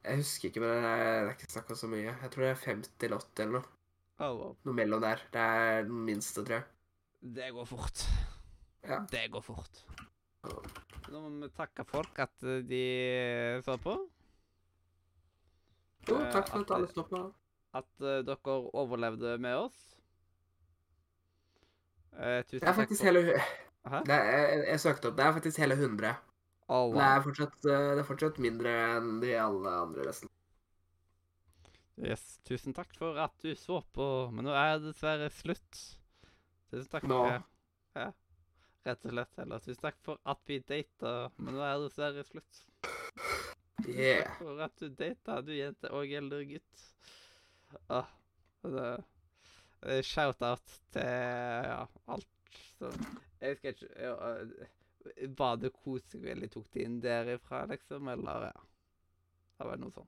S2: Jeg husker ikke, men det er, det er ikke snakka så mye. Jeg tror det er 50 eller 80 eller noe.
S1: Oh, wow.
S2: Noe mellom der. Det er den minste, tror jeg.
S1: Det går fort.
S2: Ja.
S1: Det går fort. Nå må vi takke folk at eh, de så på.
S2: Jo,
S1: Eh,
S2: takk for
S1: at
S2: at alle
S1: det-
S2: sto på.
S1: At eh, dere overlevde med oss. Eh, tusen
S2: Det er
S1: takk
S2: faktisk
S1: for-
S2: hele det
S1: Hæ?
S2: er, jeg, jeg søkte opp. Det er faktisk hele 100.
S1: Oh,
S2: Det
S1: wow.
S2: er fortsatt, eh, det er fortsatt mindre enn de alle andre, nesten.
S1: Yes, tusen takk for at du så på, men nå er det dessverre slutt. Tusen takk
S2: Nå.
S1: for ja. Rett og slett. Eller tusen takk for at vi data, men nå er det dessverre slutt. Tusen
S2: Yeah.
S1: Takk for at du data, du jente og eller gutt. Ah, det, det er Shout-out til ja, alt som Jeg husker ikke ja, eh, Var det koselig eller tok det inn derifra, liksom? Eller ja. Det var noe sånn.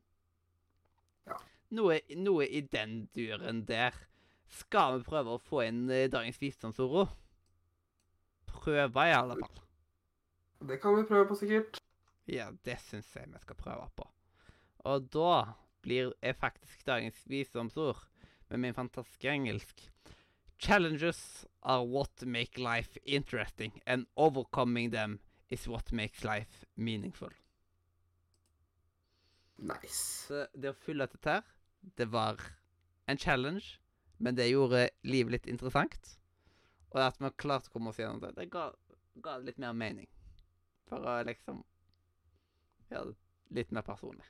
S2: Ja.
S1: Noe, noe i den duren der. Skal vi prøve å få inn eh, dagens visdomsord? også? Prøve, i alle fall.
S2: Det kan vi prøve på, sikkert.
S1: Ja, det syns jeg vi skal prøve på. Og da blir er faktisk dagens visdomsord med min fantastiske engelsk Challenges are what make life interesting, and overcoming them is what makes life meaningful.
S2: Nice.
S1: Så det å fylle dette her, det var en challenge, men det gjorde livet litt interessant. Og at vi klarte å komme oss gjennom det, det ga, ga det litt mer mening. For å liksom gjøre det litt mer personlig.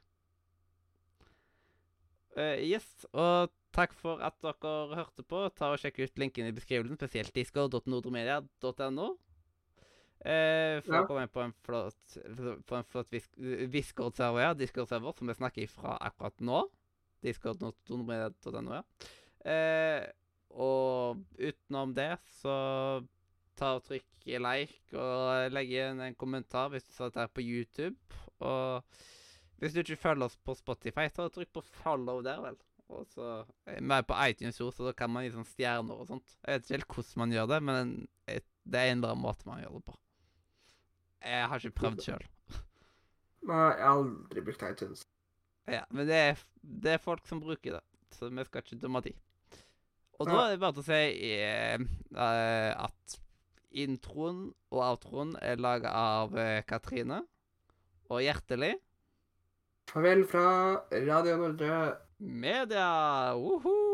S1: Eh, yes, og takk for at dere hørte på. Ta og Sjekk ut linken i beskrivelsen, spesielt discord.nordremedia.no. Eh, for
S2: Ja.
S1: å komme inn på en flott, på en flott vis- Discord-server, ja. Discord-server som vi snakker ifra akkurat nå. E Discord.nordremedia.no, ja. Eh, og utenom det, så ta og trykk i like og legg igjen en kommentar hvis du ser dette her på YouTube. Og hvis du ikke følger oss på Spotify, så trykk på follow der, vel. Og så eh, Vi er på iTunes også, så da kan man gi sånn stjerner og sånt. Jeg vet ikke helt hvordan man gjør det, men et- det er en eller annen måte man gjør det på. Jeg har ikke prøvd sjøl.
S2: Nei, jeg har aldri brukt iTunes.
S1: Ja, men det er, det er folk som bruker det, så vi skal ikke dømme de. Og da
S2: Nei.
S1: er det bare til å si eh, eh, at introen og outroen er laga av eh, Katrine. Og hjertelig
S2: Farvel fra Radio Nordre.
S1: media! Woho!